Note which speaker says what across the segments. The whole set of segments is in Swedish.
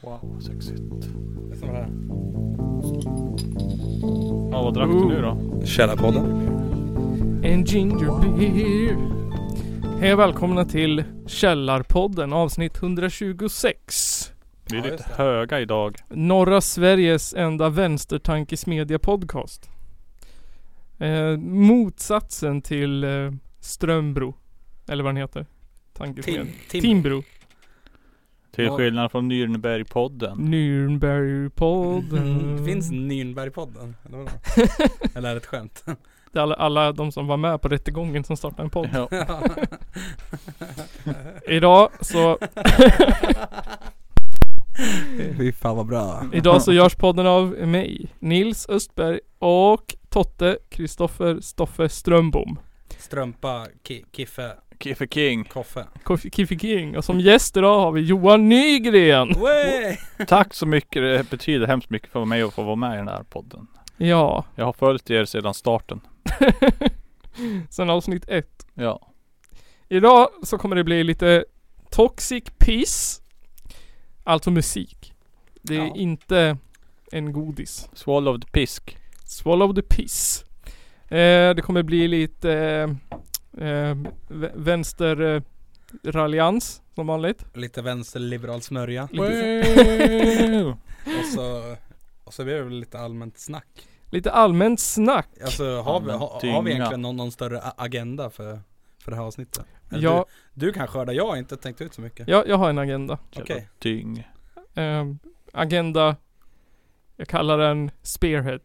Speaker 1: Wow, sexigt.
Speaker 2: Det är som här.
Speaker 1: Ja, vad drack du nu då?
Speaker 2: Källarpodden.
Speaker 3: En ginger beer. Hej och välkomna till Källarpodden avsnitt 126.
Speaker 1: Vi är
Speaker 2: Ja,
Speaker 1: lite
Speaker 2: just det.
Speaker 1: höga idag.
Speaker 3: Norra Sveriges enda vänstertankesmedja podcast. Eh, motsatsen till eh, Strömbro. Eller vad den heter. Tankesmedja.
Speaker 2: Tim. Tim.
Speaker 3: Timbro.
Speaker 1: Till
Speaker 2: Ja.
Speaker 1: skillnad från Nürnbergpodden.
Speaker 3: Nürnbergpodden.
Speaker 2: Mm. Finns Nürnbergpodden? Eller vadå? Eller är det ett skämt?
Speaker 3: Det är alla, alla de som var med på rättegången som startade en podd.
Speaker 1: Ja.
Speaker 3: Idag så,
Speaker 2: Fy fan vad bra.
Speaker 3: idag så görs podden av mig, Nils Östberg och Totte Kristoffer Stoffe Strömbom.
Speaker 2: Strumpa, ki- kiffe,
Speaker 1: Kiffe King.
Speaker 2: koffe.
Speaker 3: Kof- Kiffi King. Och som gäst idag har vi Johan Nygren.
Speaker 2: Wey!
Speaker 1: Tack så mycket. Det betyder hemskt mycket för mig att få vara med i den här podden.
Speaker 3: Ja,
Speaker 1: Jag har följt er sedan starten.
Speaker 3: sen avsnitt ett.
Speaker 1: Ja.
Speaker 3: Idag så kommer det bli lite toxic piss. Alltså musik. Det är
Speaker 2: Ja.
Speaker 3: inte en godis.
Speaker 1: Swallowed pisk.
Speaker 3: Swallow the piss. Eh, det kommer bli lite eh, eh, vä- vänster eh, raljans som vanligt.
Speaker 2: Lite vänsterliberal smörja.
Speaker 3: Lite,
Speaker 2: Och så, och så blir det väl lite allmänt snack.
Speaker 3: lite allmänt snack.
Speaker 2: Alltså har vi,
Speaker 1: Allmän
Speaker 2: ha, har
Speaker 1: dynga.
Speaker 2: vi egentligen någon, någon större a- agenda för, för det här avsnittet? Eller
Speaker 3: Jag,
Speaker 2: Du, du kan skörda, jag har inte tänkt ut så mycket.
Speaker 3: jag, jag har en agenda.
Speaker 2: Okej.
Speaker 1: Dyng.
Speaker 3: Eh, agenda, jag kallar den Spearhead.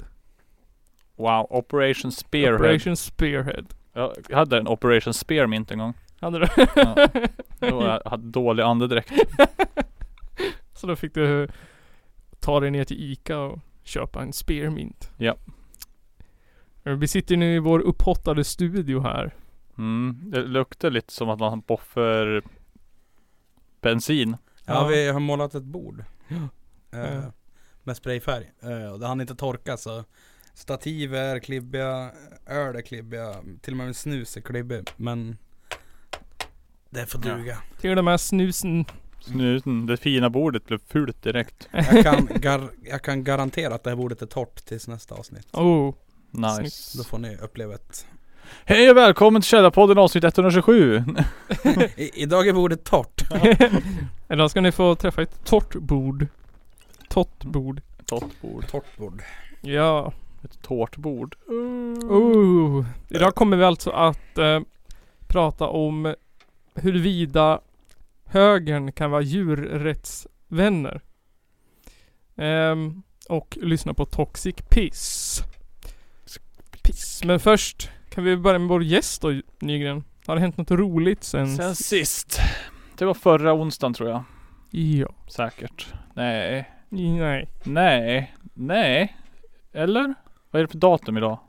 Speaker 1: Wow. Operation Spearhead.
Speaker 3: Operation Spearhead.
Speaker 1: Ja, jag hade en Operation Spearmint en gång.
Speaker 3: Hade du?
Speaker 1: Ja. Då jag hade dålig andedräkt.
Speaker 3: Så då fick du ta dig ner till Ica och köpa en Spearmint.
Speaker 1: Ja.
Speaker 3: Eh, Vi sitter nu i vår upphottade studio här.
Speaker 1: Mm. Det luktar lite som att man boffar bensin.
Speaker 2: Ja, vi har målat ett bord. Eh,
Speaker 3: Ja.
Speaker 2: med sprayfärg. Eh, och det hann inte torka så stativ är klibbiga, öl är klibbiga, till och med min snus är klibbig. Men det får
Speaker 1: Ja.
Speaker 2: duga.
Speaker 3: Till och med snusen.
Speaker 1: Snuten, det fina bordet blev fult direkt.
Speaker 2: Jag, kan gar- jag kan garantera att det här bordet är torrt tills nästa avsnitt.
Speaker 3: Oh.
Speaker 2: Då
Speaker 1: Nice.
Speaker 2: får ni uppleva ett...
Speaker 1: Hej och välkommen till Källarpodden avsnitt 127.
Speaker 2: I- idag är bordet torrt.
Speaker 3: Idag ska ni få träffa ett torrt bord. Tott bord.
Speaker 1: Tårtbord.
Speaker 2: Torrt bord.
Speaker 3: Ja.
Speaker 1: Ett tårtbord.
Speaker 3: Oh. Idag kommer vi alltså att eh, prata om huruvida högern kan vara djurrättsvänner. Ehm, och lyssna på Toxic Piss. Piss. Men först kan vi börja med vår gäst då Nygren. Har det hänt något roligt sen?
Speaker 1: Sen sist. Det var förra onsdagen tror jag.
Speaker 3: Ja.
Speaker 1: Säkert. Nej.
Speaker 3: Nej.
Speaker 1: Nej. Nej. Eller? Vad är det för datum idag?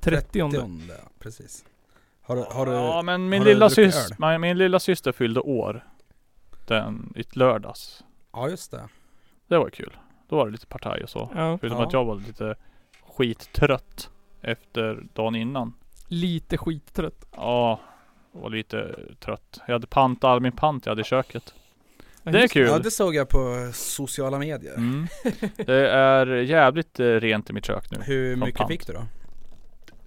Speaker 3: 30.
Speaker 2: Tionde, precis. Har, du- har du...
Speaker 1: ja men min
Speaker 2: har du
Speaker 1: lilla,
Speaker 2: druckit
Speaker 1: sys-
Speaker 2: öl?
Speaker 1: min, min lilla syster fyllde år. Den, i lördags.
Speaker 2: Ja just det.
Speaker 1: Det var kul. Då var det lite partaj och så.
Speaker 3: Ja.
Speaker 1: Förutom
Speaker 2: Ja.
Speaker 1: att jag var lite skittrött efter dagen innan.
Speaker 3: Lite skittrött.
Speaker 1: Ja, jag var lite trött. Jag hade pant, all min pant jag hade i köket.
Speaker 3: Ja,
Speaker 1: Det är
Speaker 3: just-
Speaker 1: kul.
Speaker 2: Ja det såg jag på sociala medier.
Speaker 1: Mm. Det är jävligt eh, rent i mitt kök nu.
Speaker 2: Hur
Speaker 1: Som
Speaker 2: mycket
Speaker 1: pant.
Speaker 2: fick du då?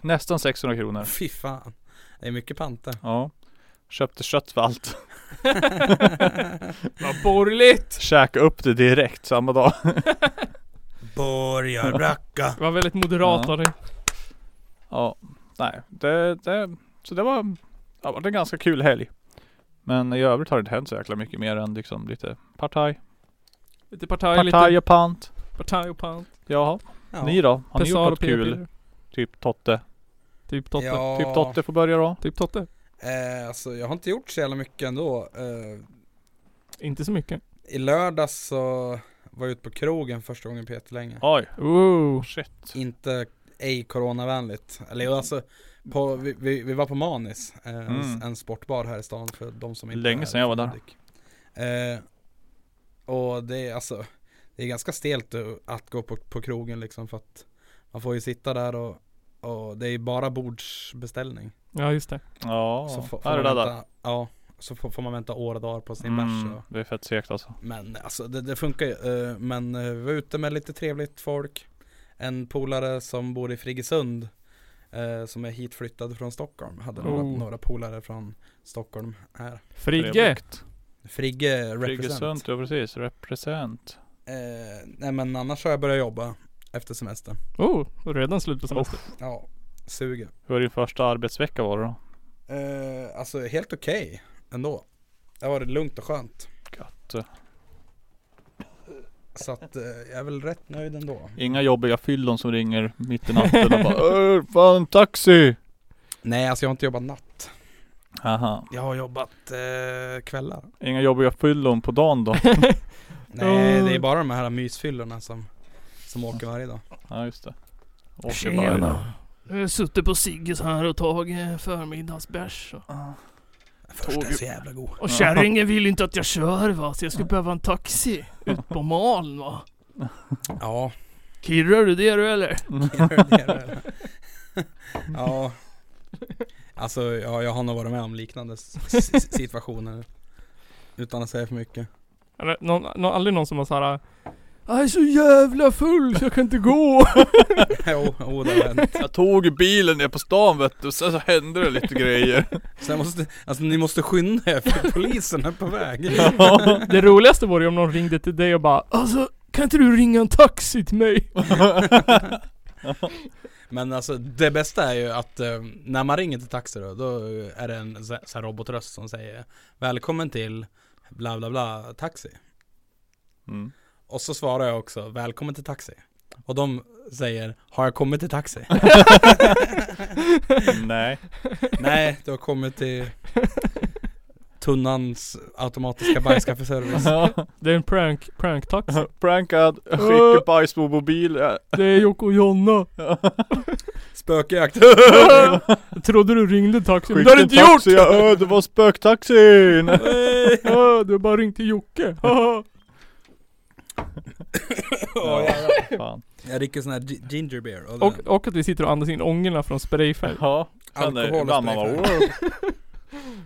Speaker 1: Nästan 600 kronor.
Speaker 2: Fy fan. Det är mycket panter.
Speaker 1: Ja. Köpte kött för allt.
Speaker 3: Vad borgerligt!
Speaker 1: Käka upp det direkt samma dag.
Speaker 2: Borgarbracka.
Speaker 3: Det var väldigt moderat
Speaker 1: Ja.
Speaker 3: av dig.
Speaker 1: Ja, nej. Det, det, så det var, det var en ganska kul helg. Men i övrigt har det inte hänt så jäkla mycket mer än liksom lite partaj.
Speaker 3: Lite partaj,
Speaker 1: Partaj
Speaker 3: lite
Speaker 1: och pant.
Speaker 3: partaj och pant.
Speaker 1: Jaha,
Speaker 2: Ja.
Speaker 1: ni då? Har ni
Speaker 3: Pessar
Speaker 1: gjort
Speaker 3: och
Speaker 1: något
Speaker 3: p-piller.
Speaker 1: kul? Typ Totte.
Speaker 3: Typ Totte.
Speaker 2: Ja,
Speaker 1: Typ Totte får börja då.
Speaker 3: Typ Totte.
Speaker 2: Eh, alltså jag har inte gjort så jävla mycket ändå. Eh,
Speaker 3: Inte så mycket.
Speaker 2: I lördags så var jag ute på krogen första gången på länge.
Speaker 1: Oj,
Speaker 3: Oh.
Speaker 1: shit.
Speaker 2: Inte ej coronavänligt. Eller jo, alltså, på, vi, vi, vi var på Manis, eh,
Speaker 1: Mm.
Speaker 2: en, en sportbar här i stan för de som inte
Speaker 1: Länge
Speaker 2: är
Speaker 1: sedan jag var
Speaker 2: från
Speaker 1: där.
Speaker 2: Hudik. Eh, och det är alltså, det är ganska stelt eh, att gå på, på krogen liksom för att man får ju sitta där och, och det är ju bara bordsbeställning.
Speaker 3: Ja just det.
Speaker 1: Ja,
Speaker 2: Så får- får
Speaker 1: är det
Speaker 2: man
Speaker 1: där.
Speaker 2: vänta- Ja, Så får, får man vänta år och dagar på sin bärs.
Speaker 1: Mm,
Speaker 2: och-
Speaker 1: det är fett segt alltså.
Speaker 2: Men alltså det, det funkar ju. Eh, Men eh, vi var ute med lite trevligt folk. En polare som bor i Friggesund. eh, Som är hitflyttad från Stockholm. Hade några,
Speaker 3: Oh.
Speaker 2: några polare från Stockholm här.
Speaker 3: Frigge!
Speaker 1: Trevligt.
Speaker 2: Frigge represent.
Speaker 1: Friggesund, ja precis. Represent.
Speaker 2: Eh, nej men annars har jag börjat jobba efter semestern.
Speaker 3: Oh, var det redan slut på semestern.
Speaker 1: Uff,
Speaker 2: Ja, suger.
Speaker 1: hur har din första arbetsvecka varit då?
Speaker 2: Eh, alltså helt okej ändå. Det har varit lugnt och skönt.
Speaker 1: Gött.
Speaker 2: Så att eh, jag är väl rätt nöjd ändå.
Speaker 1: Inga jobbiga fyllon som ringer mitt i natten och bara "Äh, Fan taxi!
Speaker 2: Nej alltså jag har inte jobbat natt.
Speaker 1: Aha.
Speaker 2: Jag har jobbat eh, kvällar.
Speaker 1: Inga jobbiga fyllon på dagen då?
Speaker 2: Nej
Speaker 3: Oh.
Speaker 2: det är bara de här mysfyllorna som, som åker varje dag.
Speaker 1: Ja just det. Åker
Speaker 3: Tjena.
Speaker 1: varje dag.
Speaker 3: Jag har suttit på Sigges här och tagit eh, förmiddagsbärs. och-
Speaker 2: Den första är så jävla god.
Speaker 3: Och
Speaker 1: Ja.
Speaker 3: kärringen vill inte att jag kör va, så jag skulle behöva en taxi ut på malen va.
Speaker 2: Ja.
Speaker 3: Kirrar du det du eller?
Speaker 2: det är det. ja. Alltså ja, jag har nog varit med om liknande s- s- situationer. Utan att säga för mycket.
Speaker 3: Eller någon, någon, aldrig någon som var såhär Jag är så jävla full så jag kan inte gå.
Speaker 2: jo, jo det har hänt.
Speaker 1: Jag tog bilen ner på stan vet du, sen så hände det lite grejer.
Speaker 2: Så jag måste, alltså ni måste skynda er för polisen är på väg.
Speaker 3: Det roligaste vore ju om någon ringde till dig och bara Alltså kan inte du ringa en taxi till mig?
Speaker 2: Men alltså det bästa är ju att eh, när man ringer till taxi då, då är det en så så här robotröst som säger Välkommen till bla bla bla taxi.
Speaker 1: Mm.
Speaker 2: Och så svarar jag också Välkommen till taxi. Och de säger Har jag kommit till taxi?
Speaker 1: Nej.
Speaker 2: Nej, du har kommit till Tunnans automatiska bajskaffeservice.
Speaker 3: Det är en prank, prank-taxi.
Speaker 1: Prankad,
Speaker 3: Uh.
Speaker 1: skickar bajs på mobil.
Speaker 3: Det är Jocke och Jonna.
Speaker 2: Spökjakt.
Speaker 3: Jag trodde du ringde taxi, men det har
Speaker 1: Skicka
Speaker 3: du
Speaker 1: en
Speaker 3: inte gjort!
Speaker 1: taxi, jag, "Ö, det var spöktaxin!
Speaker 3: Äh, Du har bara ringt till Jocke. Haha.
Speaker 2: Ja, jävlar.
Speaker 1: Fan.
Speaker 2: jag dricker sån här gi- ginger beer. Och,
Speaker 3: och, och att vi sitter och andas in ångorna från sprayfärg.
Speaker 1: Ja, sen är det
Speaker 2: Alkohol och
Speaker 1: ibland man bara "Wow."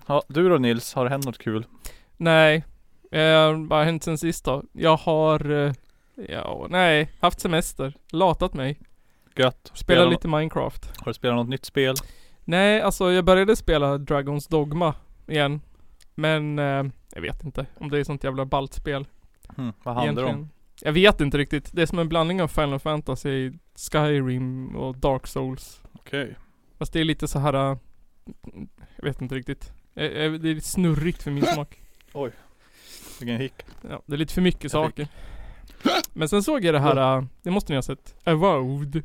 Speaker 1: Ja, du då Nils, har det hänt något kul?
Speaker 3: Nej. Eh, vad har hänt sen sist då? Jag har... Eh, ja, nej. Haft semester. Latat mig.
Speaker 1: Gött?
Speaker 3: Spelat
Speaker 1: Spela-
Speaker 3: lite Minecraft.
Speaker 1: Har du spelat något nytt spel?
Speaker 3: Nej, alltså jag började spela Dragons Dogma igen. Men eh, jag vet inte om det är sånt jävla ballt spel.
Speaker 1: Mm, vad handlar det om?
Speaker 3: Jag vet inte riktigt. Det är som en blandning av Final Fantasy, Skyrim och Dark Souls.
Speaker 1: Okej.
Speaker 3: Fast det är lite så här. eh, Jag vet inte riktigt. Eh, eh, Det är lite snurrigt för min smak.
Speaker 1: Vilken hick.
Speaker 3: Ja, det är lite för mycket
Speaker 1: Jag
Speaker 3: saker. Men sen såg jag det här, eh, det måste ni ha sett. Avowed.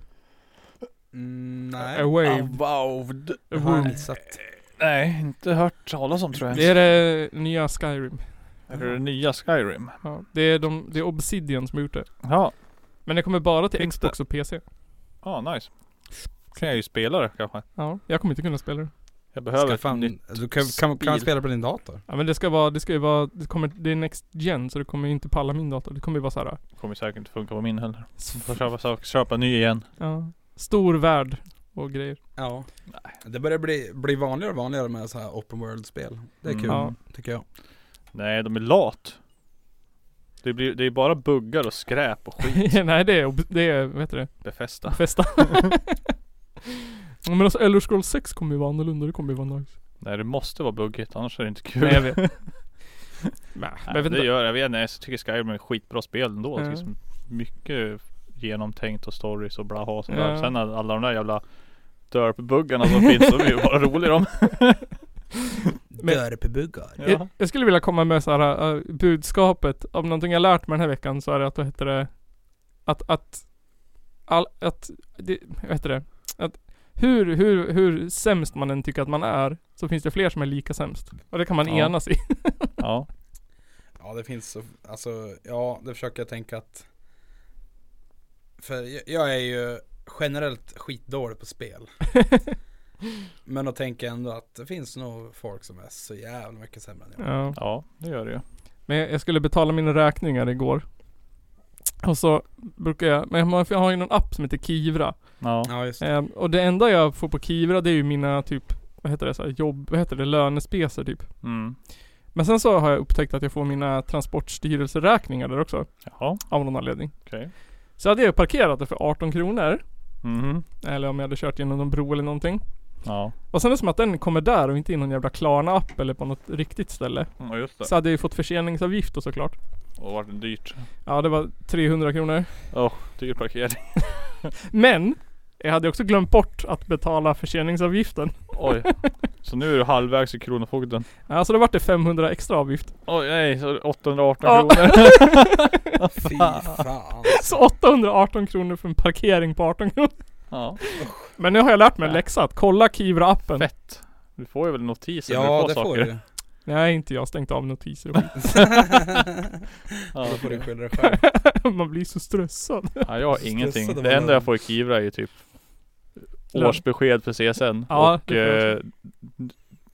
Speaker 2: Mm, nej.
Speaker 3: Awaved.
Speaker 1: Avowed.
Speaker 2: Det har jag
Speaker 3: Awaved.
Speaker 2: inte sett.
Speaker 1: Nej, inte hört talas om tror jag.
Speaker 3: Det är det nya Skyrim.
Speaker 1: Är det den nya Skyrim?
Speaker 3: Ja, det, är de, det är Obsidian som har gjort det.
Speaker 1: Ja.
Speaker 3: Men det kommer bara till
Speaker 1: Finns
Speaker 3: Xbox och PC.
Speaker 1: Ja, Ah, nice. Kan jag ju spela det kanske.
Speaker 3: Ja, jag kommer inte kunna spela det.
Speaker 1: Jag behöver
Speaker 2: Skaffa en-
Speaker 1: ett nytt.
Speaker 2: du kan, kan, kan
Speaker 1: spel.
Speaker 2: man spela på din dator?
Speaker 3: Ja men det ska vara, det ska ju vara, det kommer, det är Next Gen så det kommer ju inte palla min dator. Det kommer ju vara äh, såhär,
Speaker 1: Kommer säkert inte funka på min heller. Får köpa, sak- köpa ny igen.
Speaker 3: ja, stor värld och grejer.
Speaker 2: Ja. Det börjar bli, bli vanligare och vanligare med så här open world-spel. Det är
Speaker 1: Mm.
Speaker 2: kul,
Speaker 3: Ja.
Speaker 2: tycker jag.
Speaker 1: Nej, de är lat. Det, blir, det är bara buggar och skräp och skit.
Speaker 3: Nej det är, ob- det är, vad heter det?
Speaker 1: Befästa.
Speaker 3: Festa. Ja, men alltså Elder Scrolls 6 kommer ju vara annorlunda, det kommer ju vara nice.
Speaker 1: Nej, det måste vara buggigt annars är det inte kul.
Speaker 3: Nej jag vet. Nej, men jag
Speaker 1: Nej,
Speaker 3: vet
Speaker 1: det
Speaker 3: inte.
Speaker 1: gör jag. jag. vet inte. Jag tycker Skyrim är ett skitbra spel ändå.
Speaker 3: Ja.
Speaker 1: Det finns mycket genomtänkt och stories och blaha och sådär.
Speaker 3: Ja.
Speaker 1: Sen all- alla de där jävla Derp-buggarna som finns, de är ju bara roliga de.
Speaker 3: Men-
Speaker 2: Dörpebuggar.
Speaker 1: Ja.
Speaker 3: Jag, jag skulle vilja komma med så här eh, budskapet. Om någonting jag lärt mig den här veckan så är det att, vad heter det? Att, att, all, att, det, vad heter det? Att hur, hur, hur sämst man än tycker att man är, så finns det fler som är lika sämst. Och det kan man
Speaker 1: Ja.
Speaker 3: enas i.
Speaker 1: Ja.
Speaker 2: Ja, det finns så, alltså, ja, det försöker jag tänka att För jag, jag är ju generellt skitdålig på spel. Men då tänker jag ändå att det finns nog folk som är så jävla mycket sämre än jag.
Speaker 3: Ja.
Speaker 1: ja, det gör det ju.
Speaker 3: Men jag, jag skulle betala mina räkningar igår. Och så brukar jag, men jag har- jag har ju någon app som heter Kivra.
Speaker 1: Ja.
Speaker 2: Ja, just det.
Speaker 3: Ehm, och det enda jag får på Kivra det är ju mina typ, vad vad heter det, så här, jobb, vad heter det, lönespecer typ.
Speaker 1: Mm.
Speaker 3: Men sen så har jag upptäckt att jag får mina transportstyrelseräkningar där också.
Speaker 1: Jaha,
Speaker 3: Av någon anledning.
Speaker 1: okej.
Speaker 3: Så hade jag parkerat det för 18 kronor.
Speaker 1: Mhm.
Speaker 3: Eller om jag hade kört genom någon bro eller någonting.
Speaker 1: Ja,
Speaker 3: Och sen är det som att den kommer där och inte i någon jävla Klarna-app eller på något riktigt ställe.
Speaker 1: mm, just det.
Speaker 3: Så hade jag ju fått förseningsavgift och såklart.
Speaker 1: Och vart det dyrt.
Speaker 3: Ja det var 300 kronor.
Speaker 1: Åh, dyr parkering.
Speaker 3: Men! Jag hade också glömt bort att betala förseningsavgiften.
Speaker 1: Oj. Så nu är du halvvägs i Kronofogden.
Speaker 3: Ja, så då vart det 500 extra avgift.
Speaker 1: Oj nej, så är det 818
Speaker 3: Ja.
Speaker 1: kronor.
Speaker 2: Fy fan.
Speaker 3: Så 818 kronor för en parkering på 18 kronor.
Speaker 1: Ja.
Speaker 3: Men nu har jag lärt mig en läxa att kolla Kivra-appen.
Speaker 1: Fett. Du får ju väl notiser när
Speaker 2: Ja
Speaker 1: du
Speaker 2: det
Speaker 1: får
Speaker 2: får
Speaker 1: saker.
Speaker 2: du.
Speaker 3: Nej inte jag, har stängt av notiser och
Speaker 1: Ja.
Speaker 2: Då får du skylla dig själv.
Speaker 3: skit. Man blir så stressad.
Speaker 1: Ja, jag har ingenting.
Speaker 2: Stressade
Speaker 1: Det
Speaker 2: var
Speaker 1: enda jag
Speaker 2: den.
Speaker 1: får i Kivra är ju typ
Speaker 3: Lön.
Speaker 1: årsbesked för CSN
Speaker 3: Ja,
Speaker 1: och
Speaker 3: det får jag
Speaker 1: eh,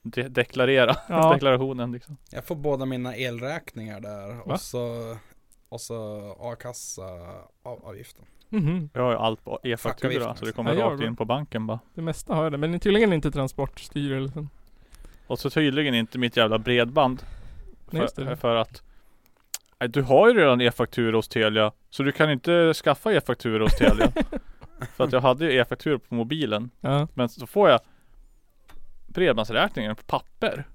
Speaker 1: de- deklarera
Speaker 3: Ja.
Speaker 1: deklarationen liksom.
Speaker 2: Jag får båda mina elräkningar där
Speaker 3: Va?
Speaker 2: och så, och så a-kassaavgiften.
Speaker 3: Mhm.
Speaker 1: Jag har ju allt på e-faktura
Speaker 2: Fackavgiften,
Speaker 1: så det kommer
Speaker 3: Ja, jag
Speaker 1: rakt
Speaker 3: med.
Speaker 1: in på banken bara.
Speaker 3: Det mesta har jag det. Men tydligen inte Transportstyrelsen.
Speaker 1: Och så tydligen inte mitt jävla bredband.
Speaker 3: Nej, just
Speaker 1: För,
Speaker 3: det.
Speaker 1: för att Nej, du har ju redan e-faktura hos Telia Så du kan inte skaffa e-faktura hos Telia För att jag hade ju e-faktura på mobilen
Speaker 3: Ja.
Speaker 1: Men så får jag Bredbandsräkningen på papper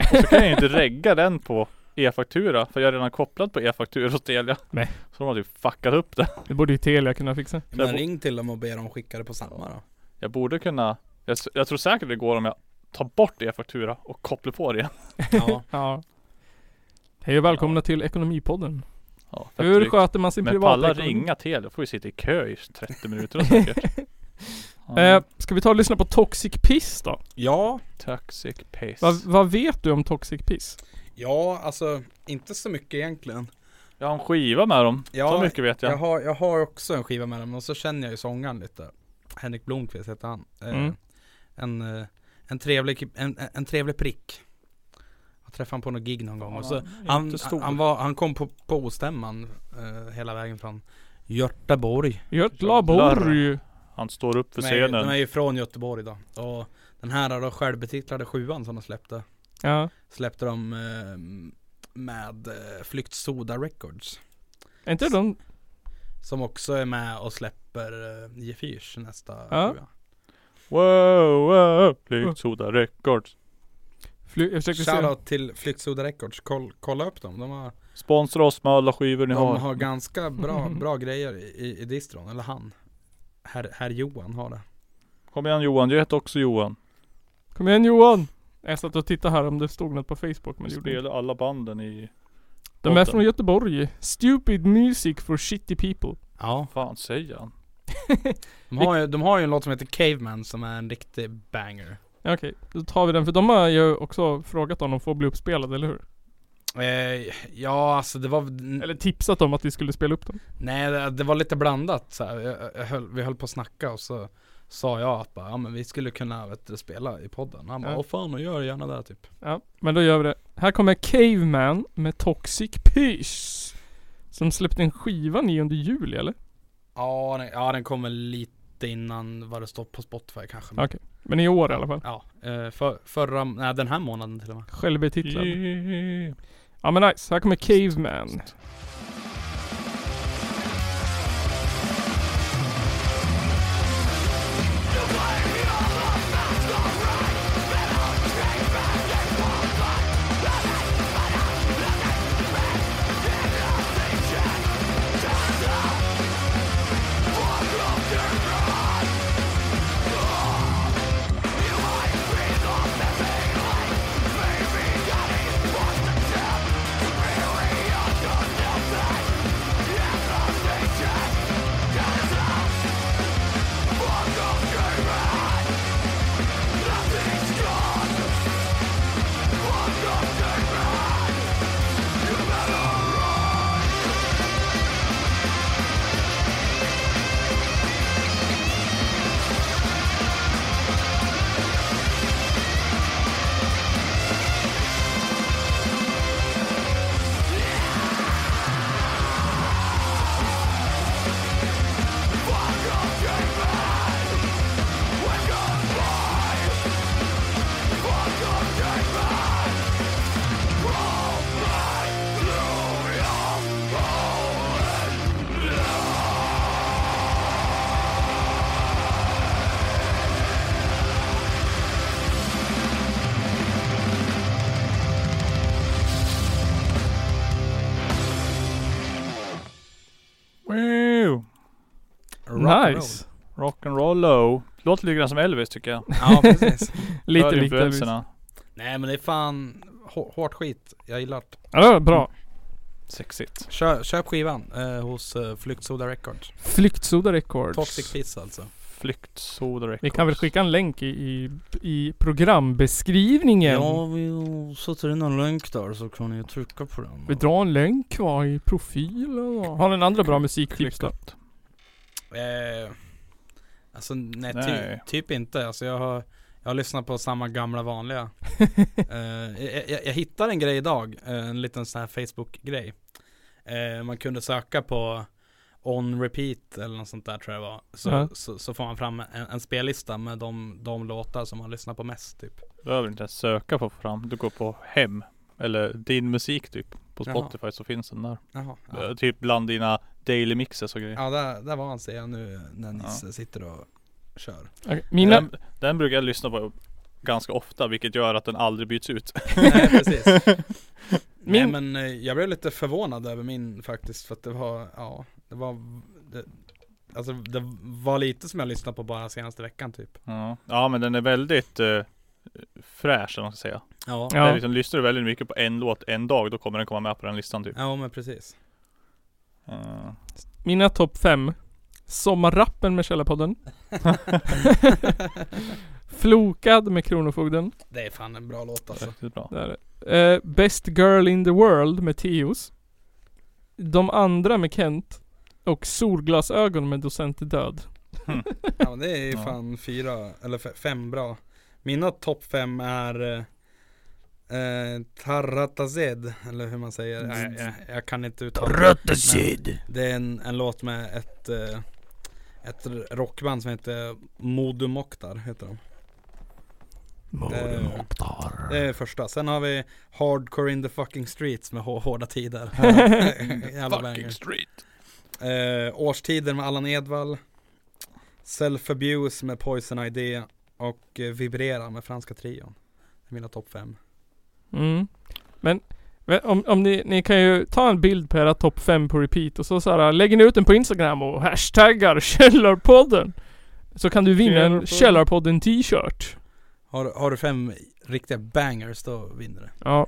Speaker 1: Och så kan jag inte regga den på e-faktura För jag är redan kopplad på e-faktura hos Telia
Speaker 3: Nej.
Speaker 1: Så de har typ fuckat upp det
Speaker 3: Det borde ju Telia kunna fixa.
Speaker 1: bo-
Speaker 2: Men ring till dem och be dem skicka det på samma då.
Speaker 1: Jag borde kunna Jag, s- jag tror säkert det går om jag tar bort e-faktura och kopplar på det igen
Speaker 2: Ja.
Speaker 3: Ja. Hej och välkomna till Ekonomipodden.
Speaker 1: ja, fett
Speaker 3: Hur
Speaker 1: drygt.
Speaker 3: sköter man sin
Speaker 1: Men pallar
Speaker 3: privatekonomi?
Speaker 1: ringa Telia, då får vi sitta i kö i 30 minuter och säkert Ja.
Speaker 3: Eh, ska vi ta och lyssna på Toxic Piss då?
Speaker 2: ja,
Speaker 1: Toxic piss.
Speaker 3: Va, vad vet du om Toxic Piss?
Speaker 2: ja alltså inte så mycket egentligen.
Speaker 1: Jag har en skiva med dem.
Speaker 2: Ja,
Speaker 1: Så mycket vet jag.
Speaker 2: Jag har, jag har också en skiva med dem och så känner jag ju sångaren lite. Henrik Blomqvist heter han. Eh,
Speaker 3: Mm.
Speaker 2: En, eh, en, trevlig, ki- en, en- en trevlig prick. Jag träffade honom på något gig någon gång och så Han,
Speaker 1: Jättestor.
Speaker 2: han, var, han kom på, på ostämman eh, hela vägen från Göteborg.
Speaker 3: Götlaborg.
Speaker 1: Han står upp för
Speaker 2: de, är, ju-
Speaker 1: scenen.
Speaker 2: de är ju från Göteborg då. Och den här då självbetitlade sjuan som de släppte.
Speaker 3: Ja.
Speaker 2: Släppte de eh, med eh, Flykt Soda Records.
Speaker 3: Är inte de...
Speaker 2: Som också är med och släpper eh, Gefyrs nästa
Speaker 3: Ja.
Speaker 2: sjua.
Speaker 1: Wow, wow, Flykt Soda Records.
Speaker 3: Fly, jag försökte se.
Speaker 2: Shoutout till Flykt Soda Records. Koll, kolla upp dem. De har,
Speaker 1: Sponsra oss med alla skivor ni
Speaker 2: de
Speaker 1: har.
Speaker 2: har ganska bra, bra grejer i, i, i distron. Eller han. Herr, herr Johan har det.
Speaker 1: Kom igen Johan, du heter också Johan.
Speaker 3: Kom igen Johan! Jag satt och tittade här om det stod något på Facebook men
Speaker 1: Vi
Speaker 3: det gjorde det inte.
Speaker 1: spelade alla banden i...
Speaker 3: De är
Speaker 1: botten.
Speaker 3: från Göteborg. Stupid music for shitty people.
Speaker 2: Ja.
Speaker 1: fan säger han?
Speaker 2: De har, ju, de har ju en låt som heter Caveman som är en riktig banger.
Speaker 3: Ja, Okej, då tar vi den för de har ju också frågat om de får bli uppspelade, eller hur?
Speaker 2: Eh, ja, alltså det var... n-
Speaker 3: Eller tipsat om att vi skulle spela upp dem.
Speaker 2: Nej, det, det var lite blandat så här. Jag, jag höll, Vi höll på att snacka och så sa jag att bara, ja, men vi skulle kunna vet, du, spela i podden. Han bara,
Speaker 3: Ja.
Speaker 2: åh fan, och gör gärna det typ.
Speaker 3: Ja, men då gör vi det. Här kommer Caveman med Toxic Pysch. Som släppte en skiva 9 juli eller?
Speaker 2: Ja, den, ja, den kommer lite innan vad det står på Spotify kanske. Men,
Speaker 3: Okej. Men i år i alla fall.
Speaker 2: Ja, eh, för, förra, nej den här månaden till och med.
Speaker 3: Självbetitlad.
Speaker 1: Yeah.
Speaker 3: Ja men nice, här kommer Caveman.
Speaker 4: Thank
Speaker 1: Wow.
Speaker 2: Rock'n'roll.
Speaker 3: nice.
Speaker 1: Rock'n'roll low. Låter lite grann som Elvis tycker jag.
Speaker 2: Ja, precis.
Speaker 3: Lite
Speaker 1: Hör
Speaker 3: likt Elvis.
Speaker 1: influenserna.
Speaker 2: Nej men det är fan hå- hårt skit. Jag gillar det.
Speaker 3: Ja, det var bra.
Speaker 1: Sexigt.
Speaker 2: Kö, köp skivan eh, hos eh, Flyktsoda Records.
Speaker 3: Flyktsoda Records.
Speaker 2: Toxic Pizza alltså.
Speaker 1: Flyktsoda Records.
Speaker 3: Vi kan väl skicka en länk i, i, i programbeskrivningen.
Speaker 2: vi sätter in en länk där så kan ni trycka på den.
Speaker 3: Vi drar en länk va, i profilen va. Har den andra bra musiktips då?
Speaker 1: Klippt.
Speaker 2: Eh, alltså nej, ty,
Speaker 1: Nej.
Speaker 2: typ inte. Alltså, jag, har, jag har lyssnat på samma gamla vanliga. eh, jag, jag, jag hittade en grej idag, eh, en liten sån här Facebook-grej. Eh, man kunde söka på On Repeat eller något sånt där tror jag det var. Så,
Speaker 3: Ja.
Speaker 2: så, så får man fram en, en spellista med de, de låtar som man lyssnar på mest typ.
Speaker 1: behöver du inte ens söka på att få fram. Du går på hem. Eller din musik typ. På
Speaker 2: Jaha.
Speaker 1: Spotify så finns den där.
Speaker 2: Jaha.
Speaker 1: Eh,
Speaker 2: Ja,
Speaker 1: Typ bland dina daily mixes och grejer.
Speaker 2: ja där, där var han ser jag nu när Nisse sitter och kör.
Speaker 3: Okej, Mina,
Speaker 1: Den, den brukar jag lyssna på ganska ofta vilket gör att den aldrig byts ut.
Speaker 2: Nej precis. Nej
Speaker 3: Min-
Speaker 2: men eh, jag blev lite förvånad över min faktiskt för att det var, ja, det var det, Alltså det var lite som jag lyssnade på bara senaste veckan typ
Speaker 1: Ja, ja men den är väldigt eh, fräsch eller vad man ska säga.
Speaker 2: Ja
Speaker 1: Ja.
Speaker 3: Ja.
Speaker 1: Liksom, lyssnar du väldigt mycket på en låt en dag då kommer den komma med på den listan typ.
Speaker 2: Ja men precis
Speaker 1: Eh,
Speaker 3: mina topp fem. Sommarrappen med Källarpodden. Flokad med Kronofogden.
Speaker 2: Det är fan en bra låt alltså
Speaker 1: riktigt bra.
Speaker 3: Där. Eh, Best Girl in the World med Teos. De andra med Kent. Och Solglasögon med Docent är död.
Speaker 2: Ja men det är ju
Speaker 1: Ja.
Speaker 2: fan fyra, eller f- fem bra Mina topp fem är eh, eh, Taratazed, eller hur man säger jag, jag, jag kan inte uttala det. Men Det är en, en låt med ett eh, Ett rockband som heter Modu Mokhtar heter de Eh, Det är första. Sen har vi Hardcore in the fucking streets med hå- hårda tider. Jävla banger.
Speaker 1: Fucking street.
Speaker 2: Eh, årstider med Allan Edwall. Self abuse med Poison Idea. Och eh, Vibrera med Franska Trion. Det är mina topp fem.
Speaker 3: Mm. Men men om, om ni, ni kan ju ta en bild på era topp 5 på repeat och så, så här, lägger ni ut den på Instagram och hashtaggar Källarpodden. Så kan du vinna en Källarpodden t-shirt.
Speaker 2: Har, har du fem riktiga bangers då vinner du.
Speaker 3: Ja.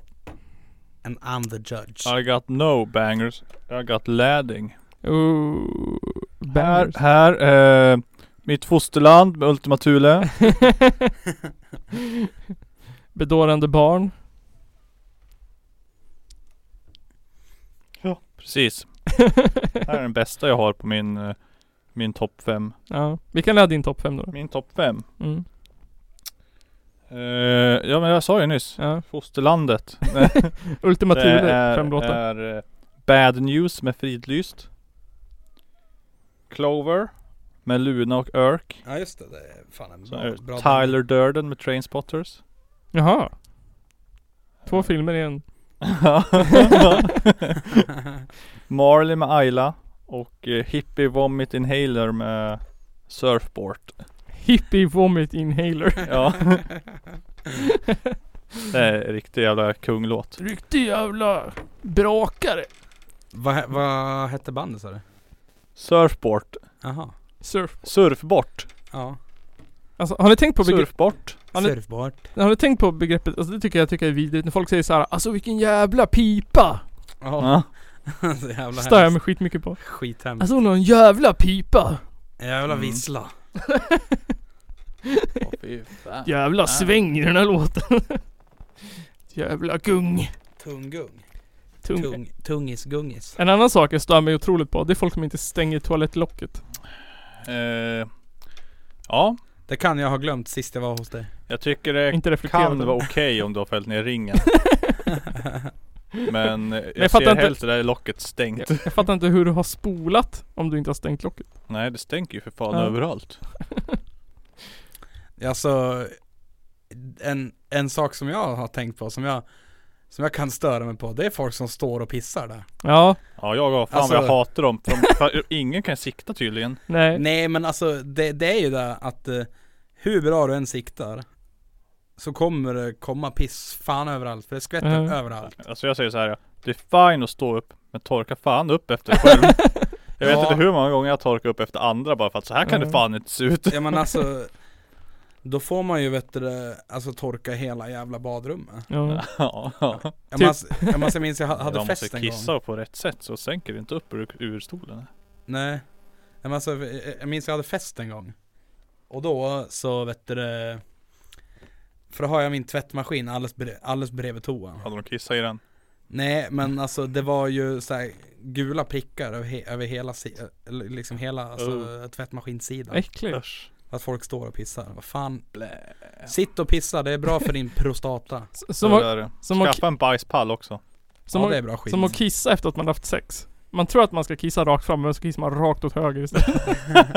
Speaker 2: And I'm the judge.
Speaker 1: I got no bangers. I got ladding.
Speaker 3: Ooh,
Speaker 1: Här,
Speaker 3: bangers.
Speaker 1: här. Eh, mitt fosterland med Ultima Thule.
Speaker 3: Bedårande barn.
Speaker 1: Precis. Det här är den bästa jag har på min, eh, min topp 5.
Speaker 3: ja. Vi kan lära din topp 5 då.
Speaker 1: Min topp 5.
Speaker 3: Mm.
Speaker 1: Eh, ja men jag sa ju nyss.
Speaker 3: Ja.
Speaker 1: Fosterlandet.
Speaker 3: Ultima
Speaker 1: Det
Speaker 3: Thule, fem
Speaker 1: är,
Speaker 3: låtar.
Speaker 1: är eh, Bad News med Fridlyst. Clover med Luna och Örk.
Speaker 2: Ja just det, det är fan en
Speaker 1: Så
Speaker 2: bra,
Speaker 1: är
Speaker 2: bra
Speaker 1: det Tyler Durden med Trainspotters.
Speaker 3: Jaha. Två filmer i en.
Speaker 1: Marley med Ayla. Och eh, Hippie Vomit Inhaler med Surfboard.
Speaker 3: Hippie Vomit Inhaler.
Speaker 1: Ja. Det är en riktig jävla kunglåt.
Speaker 3: Riktig jävla brakare.
Speaker 2: Vad he- vad hette bandet sa du?
Speaker 1: Surfboard.
Speaker 2: Jaha.
Speaker 3: Surf.
Speaker 1: Surfbort.
Speaker 2: Ja.
Speaker 3: Alltså har ni tänkt på begreppet?
Speaker 1: Surfbort.
Speaker 3: Han är-
Speaker 2: Surfboard.
Speaker 3: Har ni tänkt på begreppet? Alltså det tycker jag, tycker jag är vidrigt när folk säger så här. Alltså vilken jävla pipa.
Speaker 2: Ja.
Speaker 1: Ja.
Speaker 2: så jävla
Speaker 3: Stör jag
Speaker 2: hemskt.
Speaker 3: mig Alltså- skitmycket på.
Speaker 2: Skithemskt.
Speaker 3: Alltså hon har en jävla pipa.
Speaker 2: Jävla
Speaker 1: Mm.
Speaker 2: vissla.
Speaker 3: Jävla sväng i den här låten. jävla gung.
Speaker 2: Tunggung.
Speaker 3: Tung.
Speaker 2: Tung, tungisgungis.
Speaker 3: En annan sak jag stör mig otroligt på, det är folk som inte stänger toalettlocket.
Speaker 1: Eh, ja,
Speaker 2: Det kan jag ha glömt sist jag var hos dig.
Speaker 1: jag tycker det
Speaker 3: Inte reflekterar
Speaker 1: kan
Speaker 3: över
Speaker 1: vara
Speaker 3: det.
Speaker 1: okej om du har fällt ner ringen. Men eh, jag,
Speaker 3: jag fattar
Speaker 1: ser
Speaker 3: inte-
Speaker 1: helt det där locket stängt.
Speaker 3: Jag, jag fattar inte hur du har spolat om du inte har stängt locket.
Speaker 1: Nej det stänker ju för fan
Speaker 3: Ja.
Speaker 1: överallt.
Speaker 2: Alltså, en, en sak som jag har tänkt på som jag, som jag kan störa mig på, det är folk som står och pissar där.
Speaker 3: Ja,
Speaker 1: Ja jag har, fan vad jag
Speaker 2: Alltså-
Speaker 1: hatar dem. För de, för ingen kan sikta tydligen.
Speaker 3: nej.
Speaker 2: Nej men alltså, det, det är ju det att eh, hur bra du än siktar så kommer det komma piss fan överallt, för det skvätter
Speaker 3: Ja.
Speaker 2: överallt.
Speaker 1: Alltså jag säger så här. Det är fine att stå upp men torka fan upp efter dig själv. Jag vet
Speaker 2: Ja.
Speaker 1: inte hur många gånger jag torkar upp efter andra bara för att så här kan det
Speaker 3: Ja.
Speaker 1: fan inte se ut.
Speaker 2: Ja men alltså Då får man ju vet du, det, alltså torka hela jävla badrummet
Speaker 3: Ja.
Speaker 1: Ja, ja.
Speaker 2: Ja,
Speaker 3: Typ.
Speaker 2: men alltså, ja, men alltså, jag minns jag ha- hade
Speaker 1: Man
Speaker 2: fest
Speaker 1: måste
Speaker 2: en gång
Speaker 1: kissa på rätt sätt så sänker det inte upp ur, ur stolen.
Speaker 2: Nej ja, men alltså, jag- Jag minns jag hade fest en gång Och då så vet du det, För då har jag min tvättmaskin alldeles, bre- alldeles bredvid toan
Speaker 1: Hade de kissat i den?
Speaker 2: Nej men alltså det var ju så här gula prickar över, he, över hela, si, eller liksom hela alltså,
Speaker 1: Oh.
Speaker 2: tvättmaskinsidan
Speaker 3: Äckligt.
Speaker 1: Usch.
Speaker 2: Att folk står och pissar, vad fan Sitt och pissa, det är bra för din prostata
Speaker 3: S-
Speaker 1: Så
Speaker 3: Som,
Speaker 1: var,
Speaker 3: att-
Speaker 1: är det.
Speaker 3: som, att-
Speaker 1: Skaffa en bajspall också.
Speaker 3: som,
Speaker 2: ja,
Speaker 3: att-
Speaker 2: det är bra skit.
Speaker 3: som att kissa efter att man haft sex. Man tror att man ska kissa rakt fram men så kissar man rakt åt höger istället.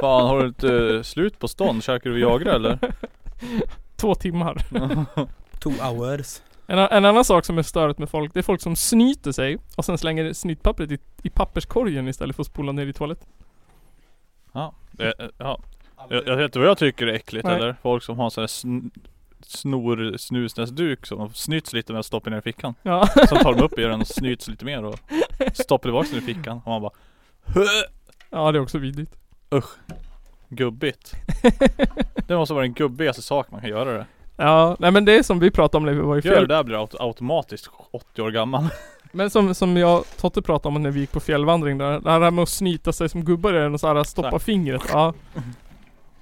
Speaker 1: Fan har du inte eh, slut på stånd? Käkar du Viagra eller?
Speaker 3: Två timmar.
Speaker 2: Two hours.
Speaker 3: En, a- en annan sak som är störigt med folk, det är folk som snyter sig och sen slänger snytpappret i, i papperskorgen istället för att spola ner i toaletten.
Speaker 1: Eh, eh, ja. Jag, jag vet inte vad jag tycker är äckligt
Speaker 3: Nej.
Speaker 1: eller? Folk som har sån här sn- snor snusnäsduk som de snyts lite med och stoppar ner i fickan.
Speaker 3: Ja.
Speaker 1: Sen tar de upp i den och snyts lite mer och stoppar tillbaka den i fickan. Och man bara
Speaker 3: ja, det är också vidrigt.
Speaker 1: Gubbigt. Det måste vara den gubbigaste sak man kan göra det.
Speaker 3: Ja, nej men det är som vi pratade om när vi var i
Speaker 1: Gör det
Speaker 3: fjäll.
Speaker 1: där blir du aut- automatiskt 80 år gammal.
Speaker 3: Men som, som jag Totte pratade om när vi gick på fjällvandring där. Det här med att snyta sig som gubbar är och så här stoppa
Speaker 1: Så här.
Speaker 3: fingret. Ja.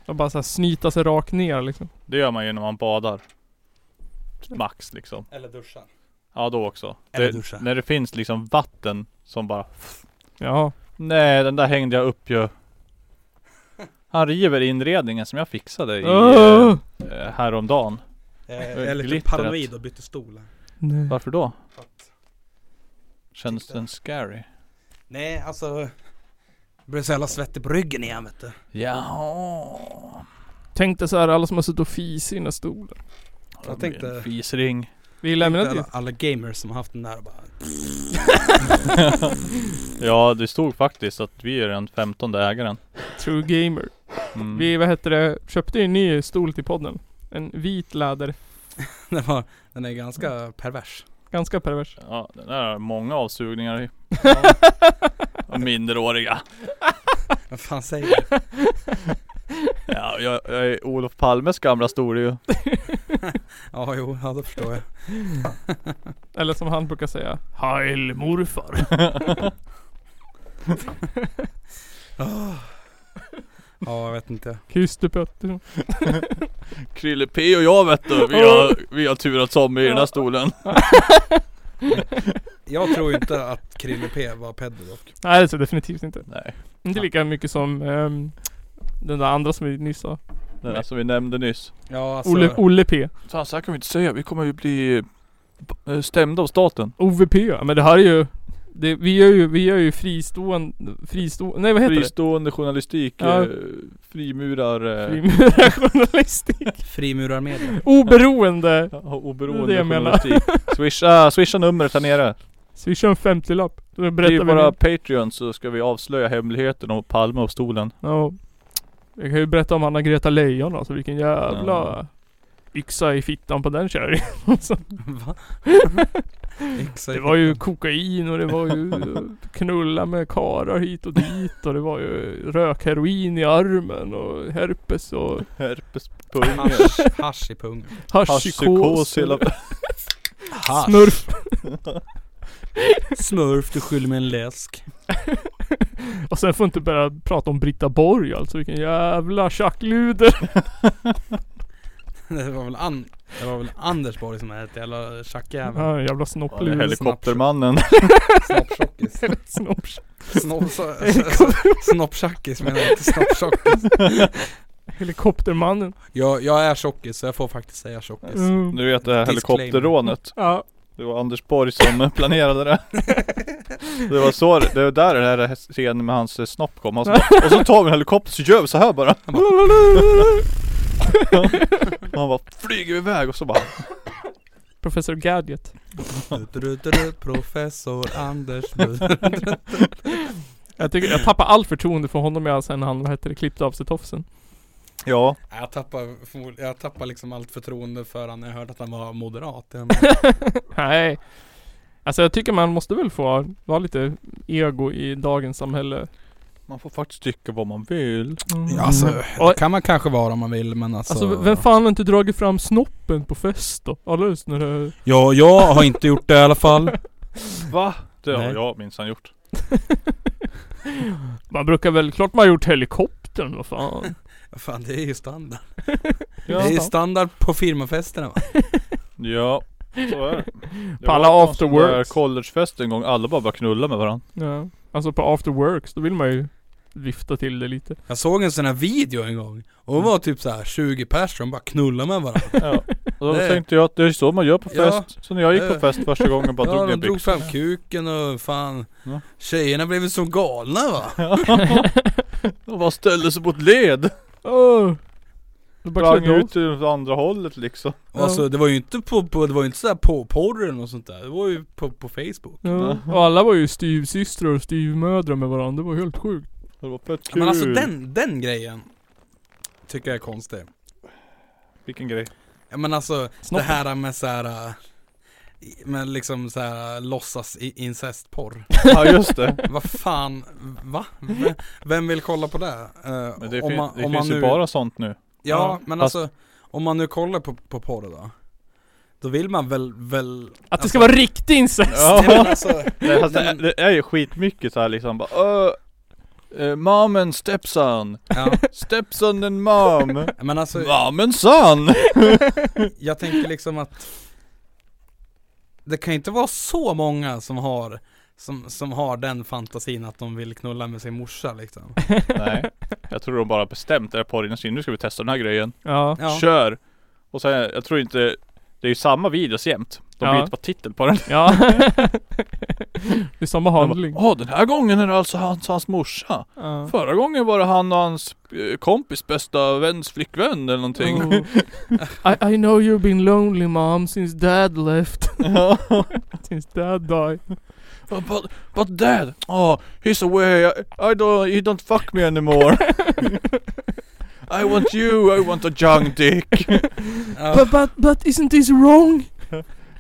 Speaker 3: Och bara så här snyta sig rakt ner liksom.
Speaker 1: Det gör man ju när man badar. Max liksom.
Speaker 2: Eller duscha.
Speaker 1: Ja då också.
Speaker 2: Eller
Speaker 1: Det,
Speaker 2: duscha.
Speaker 1: när det finns liksom vatten som bara
Speaker 3: Ja.
Speaker 1: Nej den där hängde jag upp ju. Han river inredningen som jag fixade i,
Speaker 3: Åh!
Speaker 1: eh, häromdagen.
Speaker 2: Jag är lite
Speaker 1: Glittret.
Speaker 2: Eh, typ paranoid och bytte stol.
Speaker 3: Nej.
Speaker 1: Varför då?
Speaker 2: För att-
Speaker 1: Kändes den scary?
Speaker 2: Nej, alltså. Jag blev så jävla svettig på ryggen igen vet du.
Speaker 1: Jaha.
Speaker 3: Tänk dig så här alla som har suttit och fisit i den där stolen.
Speaker 1: Det blir
Speaker 2: tänkte-
Speaker 1: en Fisring.
Speaker 3: Vi lämnar det typ-
Speaker 2: Alla,
Speaker 3: till.
Speaker 2: alla gamers som har haft den där och bara.
Speaker 1: Ja det stod faktiskt att vi är den femtonde ägaren.
Speaker 3: True Gamer.
Speaker 1: Mm.
Speaker 3: Vi, vad heter det, köpte ju en ny stol till podden. En vit läder.
Speaker 2: Den, var, den är ganska pervers.
Speaker 3: Ganska pervers.
Speaker 1: Ja den där har många avsugningar i. Och minderåriga.
Speaker 2: Vad fan säger du?
Speaker 1: Ja, jag, jag är Olof Palmes gamla store ju.
Speaker 2: Ja, jo, ja, det förstår jag.
Speaker 3: Eller som han brukar säga. Heil morfar.
Speaker 2: Ja, jag vet inte.
Speaker 3: Kystepötter.
Speaker 1: Krille P och jag vet du, vi har, vi har turats om i den här stolen.
Speaker 2: Jag tror ju inte att Krille P var pedo dock.
Speaker 3: Nej det är så definitivt inte.
Speaker 1: Nej,
Speaker 3: Inte lika mycket som ehm, den där andra som vi nyss sa.
Speaker 1: den där som vi nämnde nyss.
Speaker 2: Ja, alltså.
Speaker 3: Olle, Olle P.
Speaker 1: Fan så här kan vi inte säga, vi kommer ju bli eh, stämda av staten.
Speaker 3: OVP ja. Men det här är ju... Det, vi gör ju, vi gör ju fristående... Fristående... Nej vad heter
Speaker 1: Fristående journalistik,
Speaker 3: Ja.
Speaker 1: eh, frimurar,
Speaker 3: det?
Speaker 1: eh,
Speaker 3: Frimurare journalistik.
Speaker 2: Frimurarmedia.
Speaker 3: Oberoende.
Speaker 1: ja,
Speaker 3: Det
Speaker 1: oberoende
Speaker 3: är det jag menar.
Speaker 1: journalistik. Swisha, swisha numret här nere.
Speaker 3: Swisha en 50-lapp. Då
Speaker 1: Bli
Speaker 3: berättar vi...
Speaker 1: våra
Speaker 3: Bara...
Speaker 1: Patreons så ska vi avslöja hemligheten om Palme och stolen.
Speaker 3: Ja. Jag kan ju berätta om Anna-Greta Leijon alltså. Vilken jävla...
Speaker 1: Ja.
Speaker 3: Yxa i fittan på den kärringen.
Speaker 2: Va?
Speaker 3: Det var ju kokain och det var ju knulla med karar hit och dit och det var ju rökheroin i armen och herpes och
Speaker 1: Herpes på ungen.
Speaker 2: Hasch, hasch i pungen.
Speaker 1: Haschpsykos
Speaker 3: haschpsykos.
Speaker 1: hela...
Speaker 3: Smurf.
Speaker 2: Smurf, du skyller mig en läsk.
Speaker 3: Och sen får inte börja prata om Britta Borg alltså. Vilken jävla tjackluder.
Speaker 2: Det var väl, an, det var väl Anders Borg som hette jävla tjackjävel.
Speaker 3: Ja, jävla
Speaker 1: Ja, det är
Speaker 3: snoppluder.
Speaker 1: Helikoptermannen.
Speaker 2: Snopptjockis.
Speaker 3: Snopp.
Speaker 2: Snopp- så- så- så- Snopptjackis menar jag inte snopptjockis.
Speaker 3: Helikoptermannen.
Speaker 2: Jag, jag är tjockis så jag får faktiskt säga tjockis.
Speaker 3: Mm.
Speaker 1: Du vet det här
Speaker 2: Disclaimer.
Speaker 1: helikopterrånet.
Speaker 3: Ja.
Speaker 1: Det var Anders Borg som planerade det. Det var så, det var där den här scenen med hans eh, snopp kom. Han så bara, och så tar vi en helikopter så gör vi så här bara. Och han bara flyger iväg och så bara
Speaker 3: Professor Gadget.
Speaker 2: Du-du-du-du-du, Professor Anders Borg.
Speaker 3: Jag, tycker, jag tappar allt förtroende för honom jag sen han, vad heter det, klippte av sig tofsen.
Speaker 1: Ja,
Speaker 2: Jag tappar, förmod- jag
Speaker 3: Mm.
Speaker 2: tappar liksom allt förtroende för han när jag hörde att han var moderat.
Speaker 3: Nej. Alltså jag tycker man måste väl få vara lite ego i dagens samhälle.
Speaker 1: Man får faktiskt tycka vad man vill.
Speaker 3: Mm.
Speaker 2: Ja, Alltså,
Speaker 3: Oj.
Speaker 2: det kan man kanske vara om man vill men alltså...
Speaker 3: Alltså vem fan har inte dragit fram snoppen på fest då? Alldeles när det...
Speaker 4: Ja, jag har inte gjort det i alla fall.
Speaker 1: Va? Det har
Speaker 4: Nej.
Speaker 1: jag minsann gjort.
Speaker 3: Man brukar väl, klart man har gjort helikoptern, vad fan.
Speaker 2: Fan det är ju standard.
Speaker 3: Ja,
Speaker 2: det är ju
Speaker 3: fan.
Speaker 2: standard på firmafesterna va?
Speaker 1: Ja, så är det. det.
Speaker 3: På alla
Speaker 1: var någon
Speaker 3: after
Speaker 1: sån där
Speaker 3: works.
Speaker 1: collegefest en gång, alla bara började knulla med varandra.
Speaker 3: ja. Alltså på after works, då vill man ju vifta till det lite.
Speaker 2: Jag såg en sån här video en gång. Och det var typ så här 20 personer som bara knullade med varandra.
Speaker 1: Ja. Och då
Speaker 2: Det-
Speaker 1: tänkte jag att det är så man gör på
Speaker 2: Ja,
Speaker 1: fest. så när jag gick
Speaker 2: det-
Speaker 1: på fest första gången bara
Speaker 2: Ja,
Speaker 1: drog
Speaker 2: de
Speaker 1: ner
Speaker 2: drog
Speaker 1: byxorna.
Speaker 2: fram kuken och fan.
Speaker 1: Ja.
Speaker 2: Tjejerna blev ju som galna va?
Speaker 1: De bara ställde sig på ett led.
Speaker 3: Åh! Det bara
Speaker 1: Sprang
Speaker 3: klingar ut.
Speaker 1: ut åt andra hållet liksom.
Speaker 2: Och Alltså det var ju inte på, på det var ju inte så här på porren och sånt där. Det var ju på, på Facebook.
Speaker 3: Ja. Och alla var ju styvsystrar och styvmödrar med varandra, det var helt sjukt.
Speaker 1: Det var fett kul.
Speaker 2: Men alltså den, den grejen. Tycker jag är konstig.
Speaker 1: Vilken grej.
Speaker 2: Ja men alltså
Speaker 3: Snoppen.
Speaker 2: det här med så här. äh, Med liksom så här äh, låtsas i- incestporr.
Speaker 1: Ja just det.
Speaker 2: Vad fan, va? V- Vem vill kolla på det? Eh,
Speaker 1: Men det, fin- det finns
Speaker 2: nu-
Speaker 1: ju bara sånt nu.
Speaker 2: Ja, men
Speaker 1: fast-
Speaker 2: alltså om man nu kollar på, på porr då. Då vill man väl, väl
Speaker 3: Att det ska vara riktig incest!
Speaker 1: Ja.
Speaker 2: Nej, men alltså,
Speaker 1: Det, alltså, det,
Speaker 2: men-
Speaker 1: det är ju skitmycket så här liksom bara "Ö, eh, Mom and stepson.
Speaker 2: ja,
Speaker 1: Stepson and mom.
Speaker 2: men alltså
Speaker 1: Mom and son.
Speaker 2: jag tänker liksom att Det kan ju inte vara så många som har som, som har den fantasin att de vill knulla med sin morsa liksom
Speaker 1: Nej. Jag tror de bara bestämt det här porrindustrin. Nu ska vi testa den här grejen.
Speaker 3: Ja.
Speaker 2: Ja,
Speaker 1: Kör! Och sen, jag tror inte Det är ju samma videos jämt. De
Speaker 3: Ja.
Speaker 1: byter bara titel på den.
Speaker 3: Ja. det är samma
Speaker 1: De
Speaker 3: handling.
Speaker 1: bara, Åh den här gången är det alltså hans, hans morsa.
Speaker 3: Ja.
Speaker 1: Förra gången var det han och hans eh, kompis bästa väns flickvän eller någonting.
Speaker 3: Oh. I, I know you've been lonely mom since dad left.
Speaker 1: Ja.
Speaker 3: since dad died.
Speaker 1: but, but dad! Oh, he's away. I, I don't, he don't fuck me anymore. I want you, I want a young dick.
Speaker 2: ja.
Speaker 3: But, but, but isn't this wrong?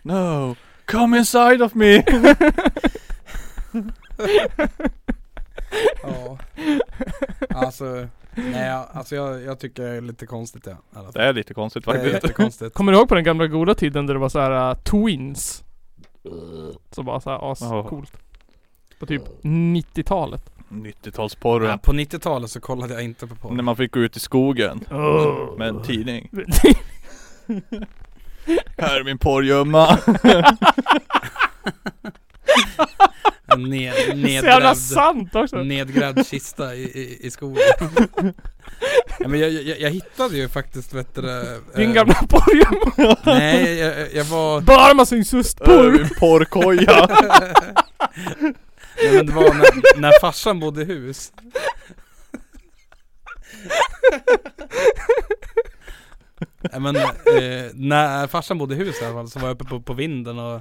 Speaker 1: No, come inside of me.
Speaker 2: ja. Alltså, nej alltså jag, jag tycker det är lite konstigt ja, i alla
Speaker 1: Det
Speaker 2: fall.
Speaker 1: är lite konstigt
Speaker 2: Det är
Speaker 1: faktiskt.
Speaker 2: jättekonstigt
Speaker 3: Kommer du ihåg på den gamla goda tiden där det var så här äh, twins? Som var så här ascoolt. På typ 90-talet.
Speaker 1: 90-talsporren.
Speaker 2: ja, På 90-talet så kollade jag inte på porr
Speaker 1: När man fick gå ut i skogen
Speaker 3: Oh.
Speaker 1: med en tidning. Här är min porrgömma.
Speaker 2: Ned,
Speaker 3: Så jävla
Speaker 2: nedgrävd,
Speaker 3: sant
Speaker 2: Eh.
Speaker 3: också!
Speaker 2: nedgrävd kista i, i, i skogen ja, men jag, jag, jag hittade ju faktiskt vet du, det,
Speaker 3: Din
Speaker 2: eh,
Speaker 3: gamla porrgömma.
Speaker 2: Nej jag, jag- jag var
Speaker 3: Bara med sin sustporr!
Speaker 1: Min porrkoja.
Speaker 2: Nej men det var när, när farsan bodde i hus Nej men eh, när farsan bodde i hus i alla fall så var jag uppe på, på vinden och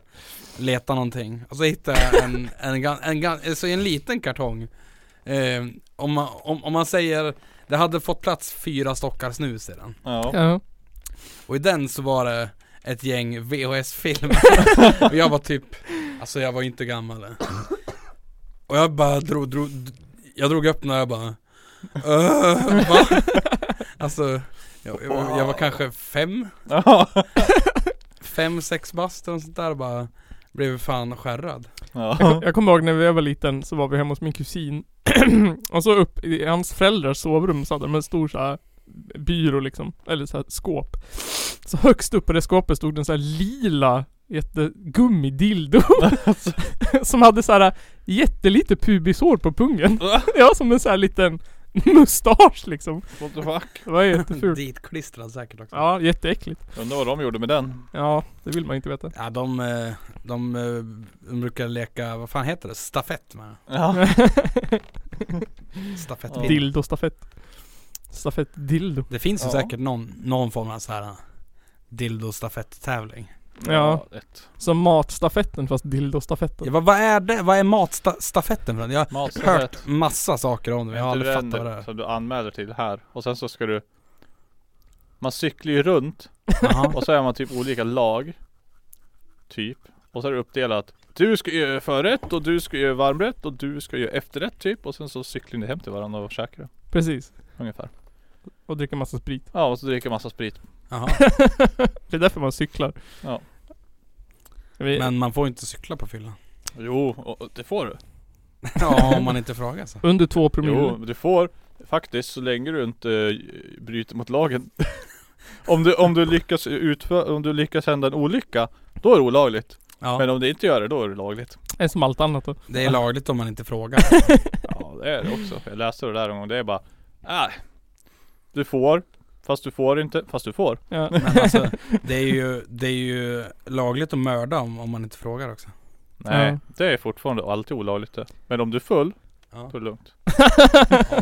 Speaker 2: letade någonting Och så hittade jag en, en, gan- en, en, så i en liten kartong eh, om, man, om, om man säger Det hade fått plats fyra stockar snus i den
Speaker 1: Ja.
Speaker 3: Ja.
Speaker 2: Och i den så var det ett gäng VHS-filmer Och jag var typ, alltså jag var inte gammal Och jag bara drog, drog jag drog upp när jag bara "Öh, va? Alltså, jag, jag, var- jag var kanske fem,
Speaker 1: Ja.
Speaker 2: fem, sex bast och sånt där och bara blev fan skärrad
Speaker 1: Ja.
Speaker 3: Jag kommer ihåg när jag var liten så var vi hemma hos min kusin Och så upp i hans föräldrars sovrum så hade de en stor så här byrå liksom, eller så här skåp Så högst upp på det skåpet stod en så här lila jättegummidildo Som hade så här eh, jättelite pubisår på pungen Ja, som en så här liten mustasch liksom
Speaker 1: What the fuck?
Speaker 3: Det var jättefult
Speaker 2: Ditklistrad säkert också
Speaker 3: Ja, jätteäckligt
Speaker 1: Undrar vad de gjorde med den.
Speaker 3: Ja, det vill man inte veta
Speaker 2: Ja de, eh, de, eh, de brukar leka, vad fan heter det? Stafett med
Speaker 1: Ja.
Speaker 2: Stafettpinne
Speaker 3: Dildostafett Stafett-dildo
Speaker 2: Det finns ju
Speaker 1: Ja.
Speaker 2: säkert någon, någon form av så här eh, dildo-stafett-tävling.
Speaker 3: Ja.
Speaker 1: Ett
Speaker 3: Som matstafetten fast dildostafetten
Speaker 2: Ja, vad, vad är det? Vad är matstafetten för något? Jag har
Speaker 1: matstafett.
Speaker 2: hört massa saker om det men jag har
Speaker 1: Inte den
Speaker 2: aldrig fattat vad det är.
Speaker 1: Som du anmäler till här. Och sen så ska du Man cyklar ju runt
Speaker 2: Jaha.
Speaker 1: och så är man typ olika lag. Typ. Och så är det uppdelat. Du ska göra förrätt och du ska göra varmrätt och du ska göra efterrätt typ. Och sen så cyklar ni hem till varandra och käkar
Speaker 3: Precis.
Speaker 1: ungefär.
Speaker 3: Och dricka massa sprit.
Speaker 1: Ja och så dricker massa sprit.
Speaker 2: Jaha.
Speaker 3: det är därför man cyklar.
Speaker 1: Ja.
Speaker 3: Vi,
Speaker 2: Men man får inte cykla på fyllan.
Speaker 1: Jo, och, och det får du.
Speaker 2: Ja, om man inte frågar så.
Speaker 3: Under två promille.
Speaker 1: Jo, men du får faktiskt så länge du inte eh, bryter mot lagen. om, du, om, du lyckas utföra, om du lyckas hända en olycka, då är det olagligt. Men
Speaker 2: Ja,
Speaker 1: om du inte gör det, då är det lagligt.
Speaker 3: Är som allt annat då.
Speaker 2: det är lagligt om man inte frågar.
Speaker 1: Ja det är det också. Jag läste det där en gång, det är bara, äh, Du får, fast du får inte, fast du får.
Speaker 3: Ja.
Speaker 2: Men alltså, det är ju, det är ju lagligt att mörda om, om man inte frågar också.
Speaker 1: Nej,
Speaker 3: Ja.
Speaker 1: det är fortfarande alltid olagligt det. Men om du är full,
Speaker 2: Ja,
Speaker 1: då är det lugnt.
Speaker 2: ja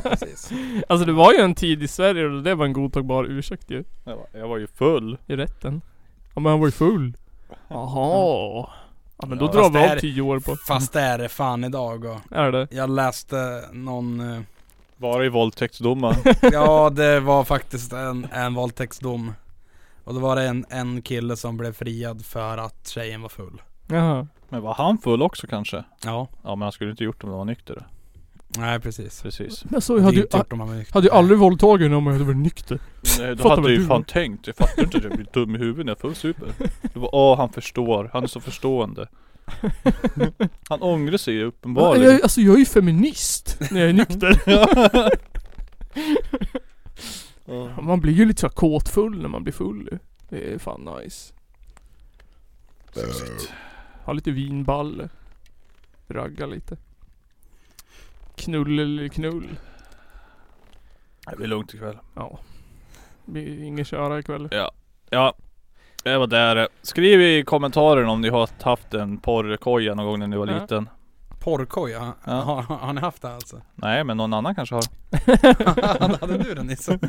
Speaker 2: precis.
Speaker 3: Alltså det var ju en tid i Sverige då det var en godtagbar ursäkt ju.
Speaker 1: Jag var, jag var ju full.
Speaker 3: I rätten. Ja men han var ju full. Jaha. Ja men då
Speaker 1: Ja,
Speaker 3: drar
Speaker 2: fast det
Speaker 3: vi av
Speaker 2: är-
Speaker 3: tio år på.
Speaker 2: Fast det är det fan idag och
Speaker 3: Är det?
Speaker 2: jag läste någon eh,
Speaker 1: Bara i våldtäktsdomar.
Speaker 2: Ja det var faktiskt en, en våldtäktsdom Och då var det en, en kille som blev friad för att tjejen var full
Speaker 3: Jaha.
Speaker 1: Men var han full också kanske?
Speaker 2: Ja
Speaker 1: Ja men han skulle inte gjort det om han var nykter.
Speaker 2: Nej precis
Speaker 1: Precis.
Speaker 3: Men så
Speaker 2: Det
Speaker 3: jag
Speaker 2: är
Speaker 3: hade
Speaker 2: ju typ inte
Speaker 3: ju
Speaker 2: gjort om man var nykter.
Speaker 3: hade ju aldrig våldtagit någon om jag hade varit nykter.
Speaker 1: Nej, då
Speaker 3: Fattar
Speaker 1: hade
Speaker 3: vad
Speaker 1: jag ju
Speaker 3: du-
Speaker 1: fan tänkt. Jag fattar inte att jag blir dum i huvudet när jag full super. Det var, åh han förstår. Han är så förstående. Han ångrar sig ju uppenbarligen.
Speaker 3: Jag, alltså jag är ju feminist när jag är nykter.
Speaker 1: Ja.
Speaker 3: Man blir ju lite så här kåtfull när man blir full ju. Det är fan nice. Ha lite vinballe. Ragga lite. Knull eller knull.
Speaker 1: Det blir lugnt ikväll.
Speaker 3: Ja. Det blir ingen köra ikväll.
Speaker 1: Ja. Det var där. Skriv i kommentaren om ni har haft en porrkoja någon gång när ni var
Speaker 3: Ja.
Speaker 1: liten.
Speaker 2: Porrkoja?
Speaker 1: Ja.
Speaker 2: Har, har ni haft det alltså?
Speaker 1: Nej men någon annan kanske har.
Speaker 2: hade du den Nisse?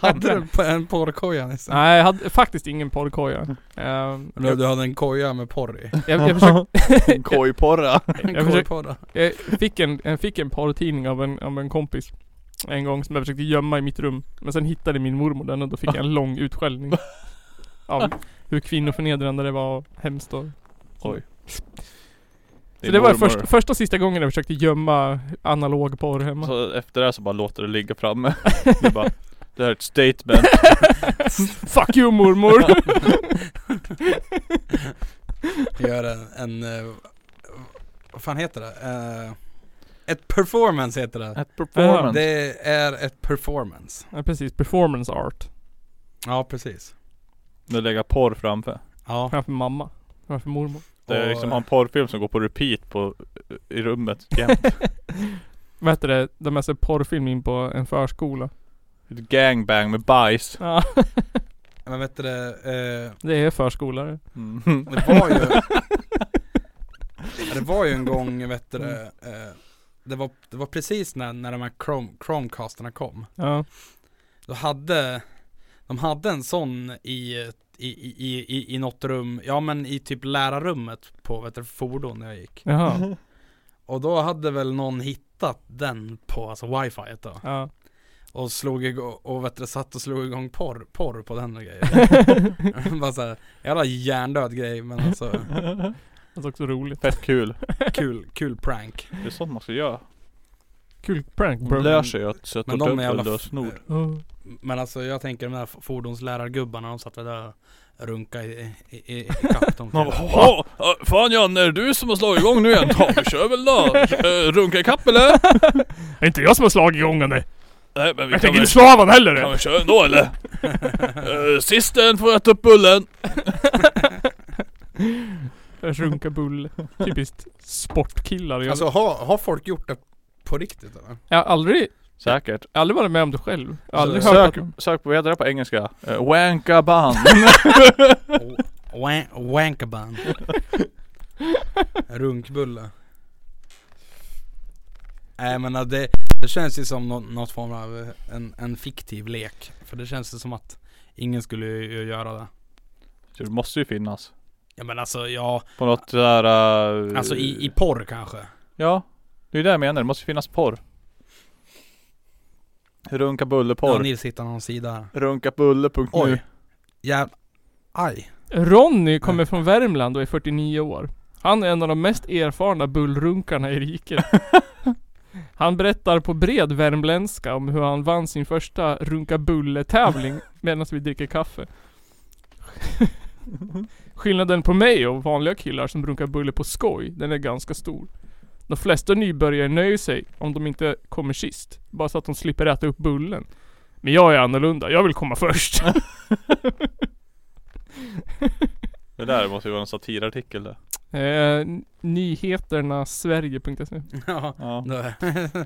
Speaker 2: hade du på- en porrkoja Nisse?
Speaker 3: Nej, jag hade faktiskt ingen porrkoja.
Speaker 2: Mm.
Speaker 3: Ehm,
Speaker 2: Eller du hade en koja med porr i?
Speaker 3: jag, jag, försökte,
Speaker 1: En kojporra.
Speaker 2: En
Speaker 3: Jag försöker-
Speaker 2: kojporra?
Speaker 3: jag, fick en, jag fick en porrtidning av en, av en kompis. En gång som jag försökte gömma i mitt rum. Men sen hittade min mormor den och då fick jag en lång utskällning. Av hur kvinnoförnedrande det var och hemskt och
Speaker 1: Oj.
Speaker 3: Så det var
Speaker 1: mormor.
Speaker 3: först, första och sista gången jag försökte gömma analog porr hemma.
Speaker 1: Så efter det här så bara låter det ligga framme. Det, bara, det här är ett statement.
Speaker 3: Fuck you mormor!
Speaker 2: Gör en, en eh, vad fan heter det? Eh, ett performance heter det
Speaker 1: Ett performance.
Speaker 2: Det är ett performance
Speaker 3: ja, precis, performance art.
Speaker 2: Ja precis
Speaker 1: Nu lägga porr framför.
Speaker 2: Ja
Speaker 3: Framför mamma. Framför mormor.
Speaker 1: Det är
Speaker 2: Och-
Speaker 1: liksom en porrfilm som går på repeat på, i rummet jämt.
Speaker 3: Vad heter det? De här ser porrfilm in på en förskola.
Speaker 1: Ett gangbang med bajs.
Speaker 3: Ja,
Speaker 2: Men vet du det, eh,
Speaker 3: det är förskollare.
Speaker 1: Mm.
Speaker 2: det var ju Det var ju en gång, vet du det, eh, det, var, det var precis när, när de här Chrome, Chromecasterna kom
Speaker 3: Ja.
Speaker 2: Då hade De hade en sån i i, i, i, i något rum, ja men i typ lärarrummet på vet du, fordon när jag gick
Speaker 3: Jaha.
Speaker 2: Och då hade väl någon hittat den på alltså wifi då
Speaker 3: Ja.
Speaker 2: Och slog igång, och vet du, satt och slog igång porr, porr på den och grejer Bara såhär, jävla hjärndöd grej men alltså
Speaker 3: Det är också roligt.
Speaker 1: Fett kul.
Speaker 2: kul, kul prank
Speaker 1: Det är sånt man ska göra.
Speaker 3: Kul prank bro.
Speaker 1: Man lär sig att sätta
Speaker 2: Men de är
Speaker 1: dubbel
Speaker 2: jävla
Speaker 1: lösenord.
Speaker 3: Ja.
Speaker 2: Men alltså jag tänker de där fordonslärargubbarna, de satt väl där och runkade i, i, i, i kapp dem
Speaker 1: Man bara, "Åh, äh, fan Janne, är det du som har slagit igång nu igen? Ja vi kör väl då. Äh, Runka ikapp eller?
Speaker 3: Det är inte jag som har slagit igång henne.
Speaker 1: Nej men vi kan
Speaker 3: Jag tänker
Speaker 1: väl,
Speaker 3: inte slå av honom heller.
Speaker 1: kan vi köra ändå eller? Äh, Sisten får äta upp bullen.
Speaker 3: Runka bull. Typiskt sportkillar. Jag,
Speaker 2: Alltså har, har folk gjort det på riktigt eller?
Speaker 3: jag har aldrig,
Speaker 1: Säkert.
Speaker 3: jag har aldrig varit med om det själv. Jag har aldrig
Speaker 2: Så-
Speaker 3: hört
Speaker 1: Alltså, Sök,
Speaker 3: att,
Speaker 1: sök på, vad heter det på engelska? Uh, wanka band.
Speaker 2: Wank, wankaban Runkbulle Nej men äh, det, det känns ju som nå- något form av eh, en, en fiktiv lek För det känns ju som att ingen skulle ju göra det
Speaker 1: Så Det måste ju finnas.
Speaker 2: Ja men alltså ja,
Speaker 1: På något där... eh,
Speaker 2: alltså i, i porr kanske
Speaker 1: Ja. Det är det jag menar, det måste ju finnas porr. Runka bulle
Speaker 2: Porr. Ja,
Speaker 1: porr.
Speaker 2: Nils hittar någon sida här
Speaker 1: Runkabulle.nu
Speaker 2: Oj. Jävlar. Aj.
Speaker 3: Ronny kommer från Värmland och är 49 år. Han är en av de mest erfarna bullrunkarna i riket. Han berättar på bred värmländska om hur han vann sin första runka bulle-tävling medan vi dricker kaffe. Skillnaden på mig och vanliga killar som runkar bulle på skoj, den är ganska stor. De flesta nybörjare nöjer sig om de inte kommer sist, bara så att de slipper äta upp bullen. Men jag är annorlunda, jag vill komma först. Eh,
Speaker 1: Det där måste ju vara en satirartikel där.
Speaker 3: Eh, nyheternasverige.se
Speaker 2: Ja.
Speaker 1: Ja.
Speaker 2: det-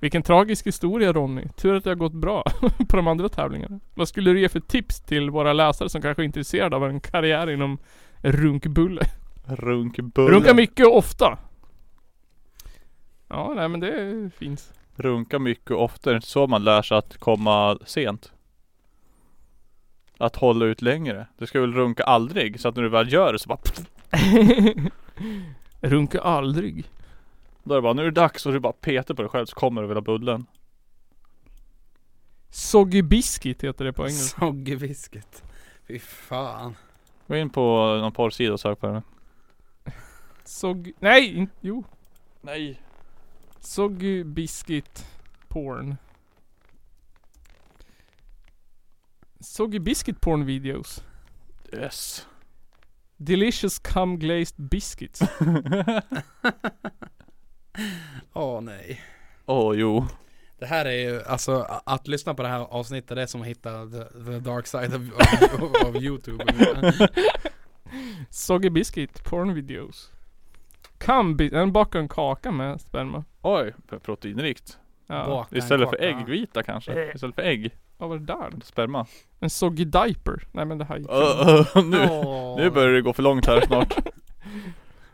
Speaker 3: Vilken tragisk historia Ronny. Tur att det har gått bra på de andra tävlingarna. Vad skulle du ge för tips till våra läsare som kanske är intresserade av en karriär inom runkbulle?
Speaker 1: Runkbulle.
Speaker 3: Runka mycket och ofta. Ja, nej men det är fint.
Speaker 1: Runka mycket och ofta. Det är inte så man lär sig att komma sent. Att hålla ut längre. Du ska väl runka aldrig så att när du väl gör det så bara
Speaker 3: Runka aldrig.
Speaker 1: Då är det bara, nu är det dags och du bara petar på dig själv så kommer du vilja bullen.
Speaker 3: Soggy biscuit heter det på engelska.
Speaker 2: Soggevisket. Fy fan.
Speaker 1: Gå in på någon porrsida och sök på det.
Speaker 3: Soggy... Nej! in- Jo.
Speaker 1: Nej.
Speaker 3: Soggy biscuit porn. Soggy biscuit porn videos.
Speaker 1: Yes.
Speaker 3: Delicious cum glazed biscuits.
Speaker 2: Åh nej.
Speaker 1: Åh jo.
Speaker 2: Det här är ju, alltså a- att lyssna på det här avsnittet det är som att hitta the, the dark side of, of, of, of youtube
Speaker 3: Soggy biscuit porn videos. Cum bi- den bakar en kaka med sperma.
Speaker 1: Oj, proteinrikt.
Speaker 3: Ja.
Speaker 2: Baka en
Speaker 1: Istället för
Speaker 2: kaka. Eh.
Speaker 1: äggvita kanske. Istället för ägg.
Speaker 3: Vad var det där?
Speaker 1: Sperma.
Speaker 3: En soggy diaper. Nej men det här gick ju.
Speaker 1: Öh, nu,
Speaker 2: Åh.
Speaker 1: nu börjar det gå för långt här snart.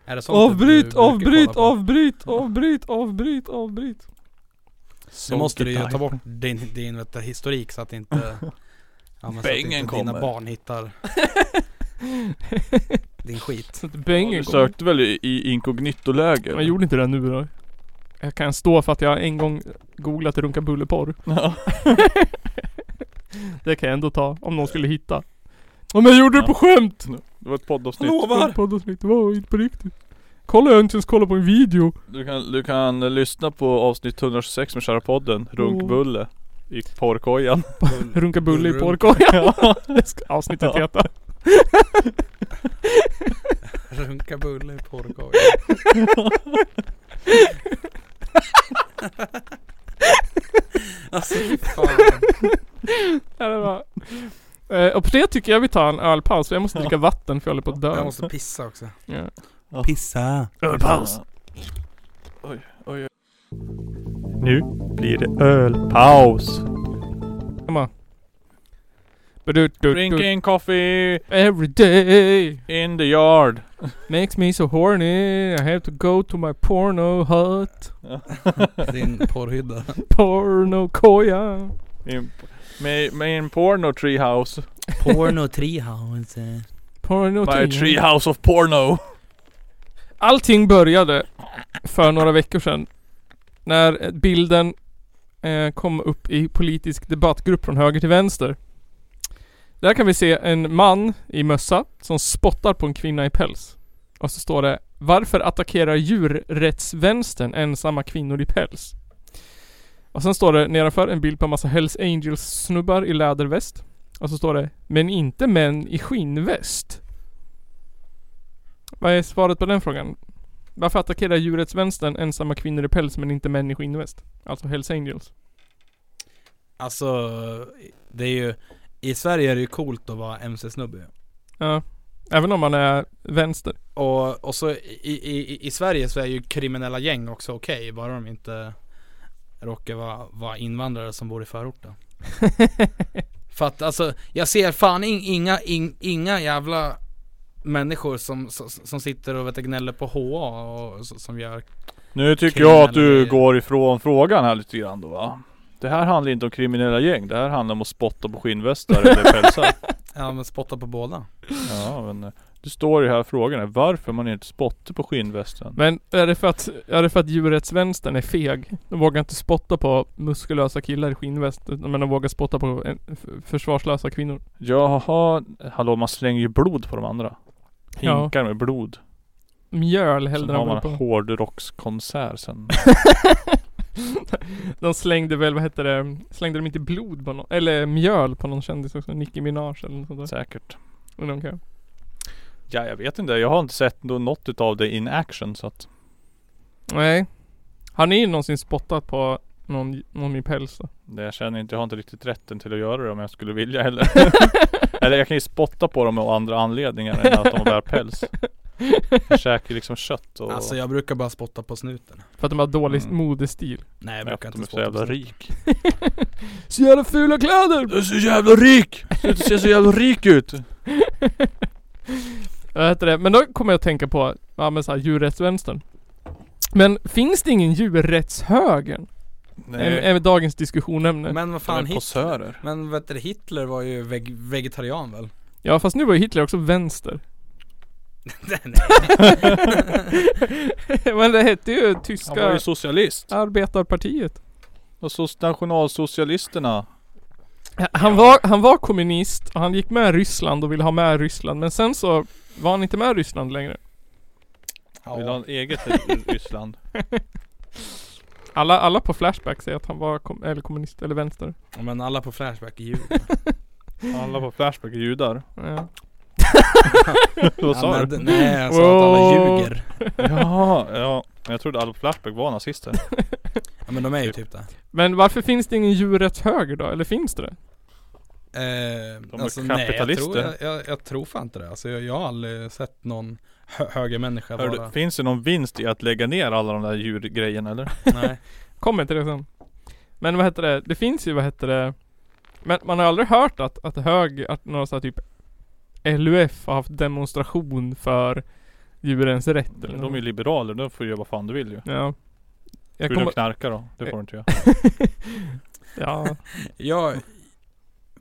Speaker 2: Är det sånt du
Speaker 3: Avbryt,
Speaker 2: brukar
Speaker 3: avbryt,
Speaker 2: kolla på?
Speaker 3: avbryt, avbryt, avbryt, avbryt.
Speaker 2: Nu måste du ju ta bort din, din vet, du, historik så att inte, ja, men så att
Speaker 1: Bängen
Speaker 2: inte
Speaker 1: kommer.
Speaker 2: dina barn hittar din skit.
Speaker 3: Så att
Speaker 1: Du
Speaker 3: bängen går.
Speaker 1: sökte väl i, i inkognitoläge?
Speaker 3: Jag gjorde inte det nu då. Jag kan stå för att jag en gång googlat runka bulleporr.
Speaker 1: Ja.
Speaker 3: Det kan jag ändå ta. Om någon skulle hitta. Om jag gjorde det på skämt!
Speaker 1: Det var ett poddavsnitt.
Speaker 2: Lovar!
Speaker 3: Poddavsnitt. Det var inte på riktigt. Kolla jag har inte ens kollat på en video.
Speaker 1: Du kan, du kan eh, lyssna på avsnitt 126 med kära podden. Runkbulle. I porrkojan.
Speaker 3: Runka bulle i
Speaker 2: Runk-
Speaker 3: porrkojan. Det ska Avsnittet
Speaker 1: Ja.
Speaker 3: heta.
Speaker 2: Runka bulle i porrkorg. alltså fy fan.
Speaker 3: Ja, det var. Eh, och på det tycker jag vi tar en ölpaus. för Jag måste dricka vatten för jag håller på att dö.
Speaker 2: Jag måste pissa också.
Speaker 3: Ja.
Speaker 4: Pissa.
Speaker 1: Ölpaus! Oj, oj, oj. Nu blir det ölpaus!
Speaker 3: Emma. Ba-du-du-du.
Speaker 1: Drinking coffee
Speaker 3: Every day
Speaker 1: in the yard.
Speaker 3: makes me so horny. I have to go to my porno hut.
Speaker 2: Din porrhydda.
Speaker 3: Porno koja.
Speaker 1: In, med, med en porno treehouse.
Speaker 4: Porno treehouse.
Speaker 3: Porno
Speaker 1: My
Speaker 3: tio.
Speaker 1: treehouse of porno.
Speaker 3: Allting började för några veckor sedan. När bilden eh, kom upp i politisk debattgrupp från höger till vänster. Där kan vi se en man i mössa som spottar på en kvinna i päls. Och så står det Varför attackerar djurrättsvänstern ensamma kvinnor i päls? Och sen står det nedanför en bild på en massa Hells Angels snubbar i läderväst. Och så står det Men inte män i skinnväst. Vad är svaret på den frågan? Varför attackerar djurrättsvänstern ensamma kvinnor i päls men inte män i skinnväst? Alltså Hells Angels.
Speaker 2: Alltså det är ju I Sverige är det ju coolt att vara MC-snubbe
Speaker 3: Ja. Även om man är vänster.
Speaker 2: och, och så i, i, i- i Sverige så är ju kriminella gäng också okej bara de inte Råkar vara, vara invandrare som bor i förorten För att alltså jag ser fan in, inga, in, inga jävla Människor som, som, som sitter och vet, du, gnäller på HA och så- som gör
Speaker 1: Nu tycker jag att
Speaker 2: Kriminella
Speaker 1: du
Speaker 2: grejer.
Speaker 1: går ifrån frågan här lite grann då va? Det här handlar inte om kriminella gäng. Det här handlar om att spotta på skinnvästar eller pälsar.
Speaker 2: Ja men spotta på båda.
Speaker 1: Ja men eh, det står ju här frågan är varför man inte spottar på skinnvästen.
Speaker 3: Men är det för att, är det för att djurrättsvänstern är feg? De vågar inte spotta på muskulösa killar i skinnväst, utan- men de vågar spotta på en, f- försvarslösa kvinnor.
Speaker 1: Jaha, hallå man slänger ju blod på de andra.
Speaker 3: Ja.
Speaker 1: Hinkar med blod.
Speaker 3: Mjöl
Speaker 1: Sen
Speaker 3: hällde
Speaker 1: har
Speaker 3: de
Speaker 1: man
Speaker 3: väl
Speaker 1: en
Speaker 3: på.
Speaker 1: hårdrockskonsert sen.
Speaker 3: De slängde väl, vad heter det, slängde de inte blod på någon, eller mjöl på någon kändis också? Nicki Minaj eller något sånt där.
Speaker 1: Säkert.
Speaker 3: Undrar om kan-
Speaker 1: Ja jag vet inte. Jag har inte sett nå- något utav det in action så att.
Speaker 3: Nej. Har ni någonsin spottat på någon, någon i päls då?
Speaker 1: Det jag känner inte, jag har inte riktigt rätten till att göra det om jag skulle vilja heller. Eller jag kan ju spotta på dem av andra anledningar än att de bär päls. Jag käkar ju liksom kött och..
Speaker 2: Alltså jag brukar bara spotta på snuten.
Speaker 3: För att de har dålig
Speaker 1: Mm.
Speaker 3: modestil.
Speaker 2: Nej jag
Speaker 1: men
Speaker 2: brukar
Speaker 1: att de
Speaker 2: inte
Speaker 1: är så
Speaker 2: spotta på
Speaker 1: jävla
Speaker 2: snuten.
Speaker 1: rik.
Speaker 3: Så jävla fula kläder!
Speaker 1: Du är så jävla rik! Du ser så jävla rik ut!
Speaker 3: Vad heter det? Men då kommer jag att tänka på, ja men såhär djurrättsvänstern. Men finns det ingen djurrättshögern? Är,
Speaker 1: Nej,
Speaker 3: är dagens diskussionämne.
Speaker 2: Men vad
Speaker 1: de
Speaker 2: fan
Speaker 1: är
Speaker 2: Hitler?
Speaker 1: posörer.
Speaker 2: Men vet du, Hitler var ju veg- vegetarian väl?
Speaker 3: Ja fast nu var ju Hitler också vänster.
Speaker 2: Nej, nej.
Speaker 3: men det hette ju
Speaker 1: Han
Speaker 3: tyska
Speaker 1: var ju socialist.
Speaker 3: arbetarpartiet.
Speaker 1: Och så nationalsocialisterna.
Speaker 3: Han var, han var kommunist och han gick med Ryssland och ville ha med Ryssland. Men sen så var han inte med Ryssland längre.
Speaker 1: Vill ha
Speaker 2: Ja.
Speaker 1: ett eget i- i Ryssland.
Speaker 3: Alla, alla på Flashback säger att han var kom, eller kommunist eller vänster.
Speaker 2: Men alla på Flashback är ju
Speaker 1: Alla på Flashback är judar.
Speaker 3: Ja.
Speaker 1: Vad sa
Speaker 2: Ja,
Speaker 1: du?
Speaker 2: men d- Nej jag sa att alla
Speaker 3: Wow.
Speaker 2: ljuger.
Speaker 1: Ja, ja. Jag trodde alla på Flashback var nazister.
Speaker 2: Ja men de är ju typ det.
Speaker 3: Men varför finns det ingen djurrättshöger då? Eller finns det det?
Speaker 2: Eh,
Speaker 1: är
Speaker 2: Nej, jag,
Speaker 1: kapitalister.
Speaker 2: tror, jag, jag, jag tror fan inte det. Alltså, jag, jag har aldrig sett någon hö höger människa
Speaker 1: Hör
Speaker 2: vara...
Speaker 1: du, finns det någon vinst i att lägga ner alla de där djurgrejerna eller?
Speaker 2: Nej.
Speaker 3: Kommer till det sen. Men vad heter det? Det finns ju vad heter det? Men man har aldrig hört att, att hög, att några så här typ LUF har haft demonstration för djurens rätt eller
Speaker 1: De är ju liberaler, de får ju göra vad fan du vill ju.
Speaker 3: något. Ja. Jag
Speaker 1: Förutom
Speaker 3: kommer...
Speaker 1: knarka då, det får du inte göra.
Speaker 3: Ja.
Speaker 2: Jag,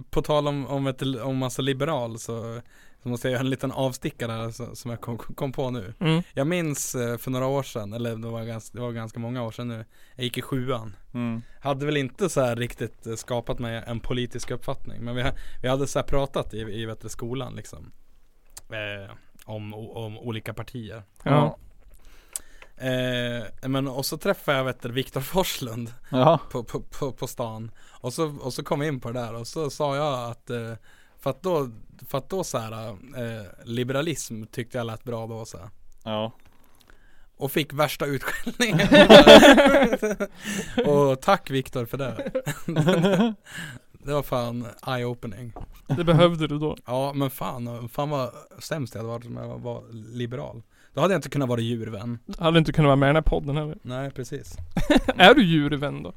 Speaker 2: på tal om, om, ett, om massa liberal så, så måste jag göra en liten avstickare här så- som jag kom, kom på nu.
Speaker 3: Mm.
Speaker 2: Jag minns eh, för några år sedan, eller det var, ganska, det var ganska många år sedan nu, jag gick i sjuan.
Speaker 1: Mm.
Speaker 2: Hade väl inte så här riktigt eh, skapat mig en politisk uppfattning men vi, ha- vi hade så här pratat i, i vet, du, skolan liksom. Eh, om, o- om olika partier.
Speaker 3: Ja.
Speaker 2: Eh, men och så träffade jag vet du, Viktor Forslund
Speaker 1: Ja.
Speaker 2: på, på, på, på stan och så, och så kom vi in på det där och så sa jag att eh, för att då, för att då så här, eh, liberalism tyckte jag lät bra då så här.
Speaker 1: Ja.
Speaker 2: Och fick värsta utskällningen Och tack Viktor för det Det var fan eye-opening
Speaker 3: Det behövde du då.
Speaker 2: Ja men fan, fan vad sämst jag hade varit om jag var liberal Då hade jag inte kunnat vara djurvän
Speaker 3: Hade inte kunnat vara med i den här podden heller.
Speaker 2: Nej precis
Speaker 3: Är du djurvän då?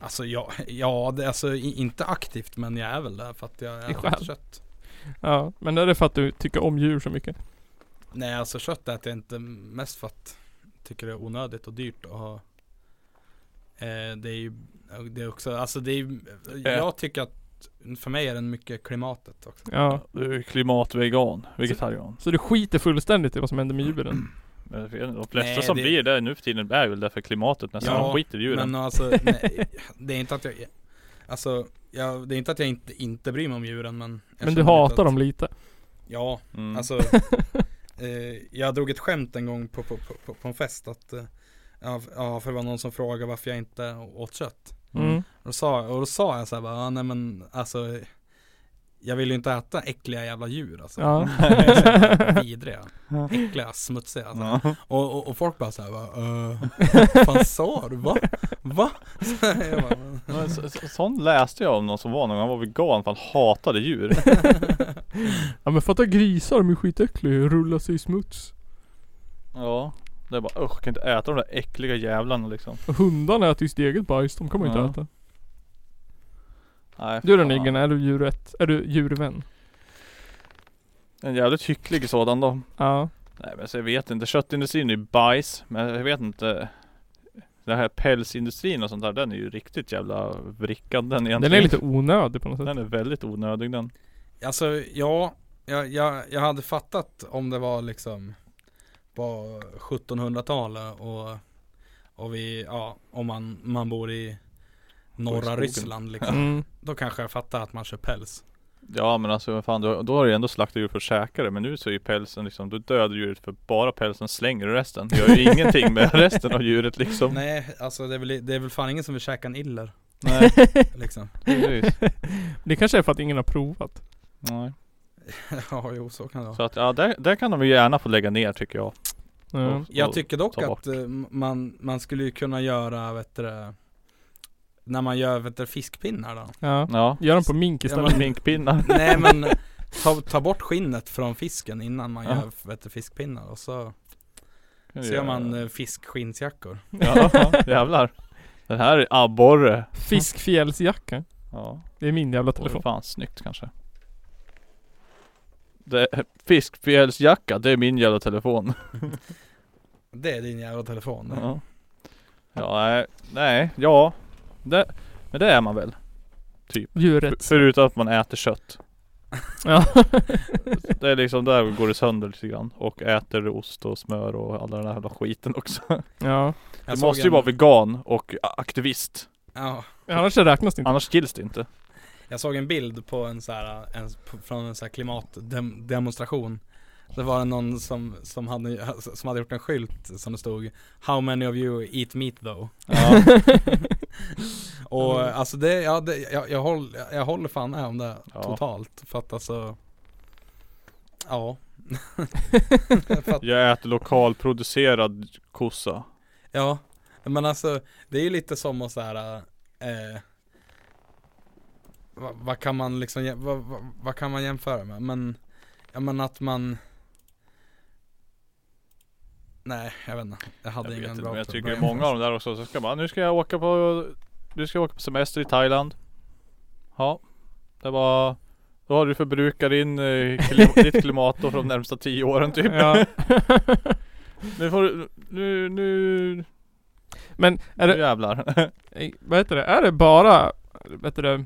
Speaker 2: Alltså ja, ja det, alltså i, inte aktivt men jag är väl där för att jag
Speaker 3: I
Speaker 2: äter
Speaker 3: själ.
Speaker 2: kött
Speaker 3: Ja. Men är det för att du tycker om djur så mycket?
Speaker 2: Nej alltså kött äter jag inte mest för att jag tycker det är onödigt och dyrt att ha eh, Det är ju, det är också, alltså det är ju-
Speaker 1: Eh.
Speaker 2: jag tycker att för mig är den mycket klimatet också
Speaker 3: Ja.
Speaker 1: Du är klimatvegan, vegetarian.
Speaker 3: Så du skiter fullständigt i vad som händer med djuren?
Speaker 1: Men jag vet inte, De flesta
Speaker 2: Nej,
Speaker 1: som
Speaker 2: det-
Speaker 1: blir det nu för tiden är väl därför klimatet nästan.
Speaker 2: Ja,
Speaker 1: de skiter i djuren.
Speaker 2: Men alltså, nej, det är inte att jag Alltså, jag, det är inte att jag inte, inte bryr mig om djuren men jag
Speaker 3: Men du
Speaker 2: känner lite
Speaker 3: hatar
Speaker 2: att-
Speaker 3: dem lite?
Speaker 2: Ja,
Speaker 1: mm.
Speaker 2: alltså eh, Jag drog ett skämt en gång på, på, på, på, på en fest att eh, Ja, f- ja, för det var någon som frågade varför jag inte åt kött
Speaker 3: Mm.
Speaker 2: Och då sa, och då sa jag så här bara, "Ja, nej men alltså Jag vill ju inte äta äckliga jävla djur alltså
Speaker 3: Ja.
Speaker 2: De är så jävla Vidriga, äckliga, smutsiga alltså.
Speaker 1: Ja.
Speaker 2: och, och, och folk bara såhär bara, "Eh, vad fan sa du? Va? Va? Så jag bara,
Speaker 1: Men så, så, sån läste jag om någon som var någon, han var vegan för han hatade djur.
Speaker 3: Ja men fatta grisar, de är skitäckliga, rullar sig i smuts.
Speaker 1: Ja. Det är bara usch, jag kan inte äta de där äckliga jävlarna liksom.
Speaker 3: Och hundarna äter ju sitt eget bajs, de kommer inte
Speaker 1: Ja.
Speaker 3: äta.
Speaker 1: Nej,
Speaker 3: Du då
Speaker 1: fan.
Speaker 3: Niggen, är du djurrätt? Är du djurvän?
Speaker 1: En jävligt hycklig sådan då.
Speaker 3: Ja.
Speaker 1: Nej men så jag vet inte, köttindustrin är ju bajs men jag vet inte Den här pälsindustrin och sånt där den är ju riktigt jävla vrickad den egentligen
Speaker 3: Den är lite onödig på något sätt.
Speaker 1: Den är väldigt onödig den
Speaker 2: Alltså ja, jag, jag, jag hade fattat om det var liksom på 1700-talet och, och vi, ja, om man, man bor i
Speaker 1: Bor i
Speaker 2: norra
Speaker 1: skogen.
Speaker 2: Ryssland liksom.
Speaker 3: Mm.
Speaker 2: Då kanske jag fattar att man kör päls.
Speaker 1: Ja men alltså vad fan, då, då har du ju ändå slaktat djur för att käka det Men nu så är ju pälsen liksom, du dödar djuret för bara pälsen slänger du resten Gör ju ingenting med resten av djuret liksom
Speaker 2: Nej, alltså det är, väl, det är väl fan ingen som vill käka en iller
Speaker 1: Nej,
Speaker 2: liksom.
Speaker 1: precis.
Speaker 3: Det kanske är för att ingen har provat.
Speaker 1: Nej.
Speaker 2: ja, jo så kan det vara.
Speaker 1: Så att ja, där, där kan de ju gärna få lägga ner tycker jag
Speaker 3: Ja.
Speaker 1: Och-
Speaker 2: Jag
Speaker 1: och-
Speaker 2: tycker dock
Speaker 1: ta bort.
Speaker 2: att eh, man, man skulle ju kunna göra, vet du, det, när man gör vet du, fiskpinnar då.
Speaker 3: ja.
Speaker 1: Ja,
Speaker 3: Gör dem på mink
Speaker 2: Ja,
Speaker 3: istället.
Speaker 2: men-
Speaker 1: minkpinnar
Speaker 2: Nej men ta, ta bort skinnet från fisken innan man
Speaker 1: Ja.
Speaker 2: gör vet du, fiskpinnar och så, så gör man eh, fiskskinnsjackor.
Speaker 1: Ja, jävlar Den här är abborre
Speaker 3: Fiskfjällsjacka.
Speaker 1: Ja,
Speaker 3: Det är min jävla
Speaker 1: det är
Speaker 3: telefon.
Speaker 1: fan snyggt kanske det, Fiskfjällsjacka, det är min jävla telefon
Speaker 2: Det är din jävla telefon.
Speaker 1: Ja, ja nej, nej, ja det, Men det är man väl?
Speaker 3: Djuret.
Speaker 1: Förutom att man äter kött.
Speaker 3: Ja.
Speaker 1: Det är liksom, där går det sönder lite grann. Och äter ost och smör och all den där jävla skiten också.
Speaker 3: ja.
Speaker 2: Jag
Speaker 1: Du
Speaker 2: såg
Speaker 1: måste ju
Speaker 2: en-
Speaker 1: vara vegan och a- aktivist.
Speaker 2: Ja,
Speaker 3: Annars så räknas det inte.
Speaker 1: Annars gills det inte.
Speaker 2: jag såg en bild på en så här, en, på- från en så här klimatdemonstration. Det var någon som, som, hade, som hade gjort en skylt som det stod How many of you eat meat though?
Speaker 1: Ja,
Speaker 2: Och
Speaker 3: Mm.
Speaker 2: alltså det, ja, det jag, jag, håller, jag håller fan med om det
Speaker 1: Ja.
Speaker 2: totalt. För att alltså, ja.
Speaker 1: jag äter lokalproducerad kossa.
Speaker 2: Ja, men alltså det är ju lite som att så här, eh, vad, vad kan man liksom, jäm- vad, vad, vad kan man jämföra med? Men, ja men att man Nej, jag vet inte. Jag
Speaker 1: Jag
Speaker 2: hade
Speaker 1: vet
Speaker 2: ingen
Speaker 1: inte,
Speaker 2: bra
Speaker 1: men jag
Speaker 2: pro-
Speaker 1: tycker
Speaker 2: bra
Speaker 1: många av dem där också. Så ska man, nu ska jag åka på, nu ska jag åka på semester i Thailand. Ja, det var, då har du förbrukat din, eh, klim, ditt klimat då för de närmsta tio åren typ.
Speaker 3: Ja.
Speaker 1: Nu får du, nu, nu,
Speaker 3: Men är
Speaker 1: nu
Speaker 3: det,
Speaker 1: jävlar.
Speaker 3: eh, vad heter det, är det bara, vad heter det,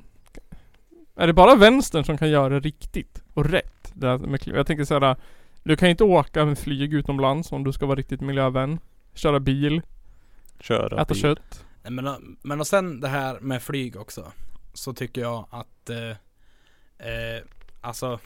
Speaker 3: är det bara vänstern som kan göra det riktigt och rätt? Det här med, kli- jag tänker såhär, du kan ju inte åka med flyg utomlands om du ska vara riktigt miljövän. Köra bil,
Speaker 1: Köra
Speaker 3: äta kött.
Speaker 2: Nej, Men, och- men och sen det här med flyg också. Så tycker jag att, eh, eh, alltså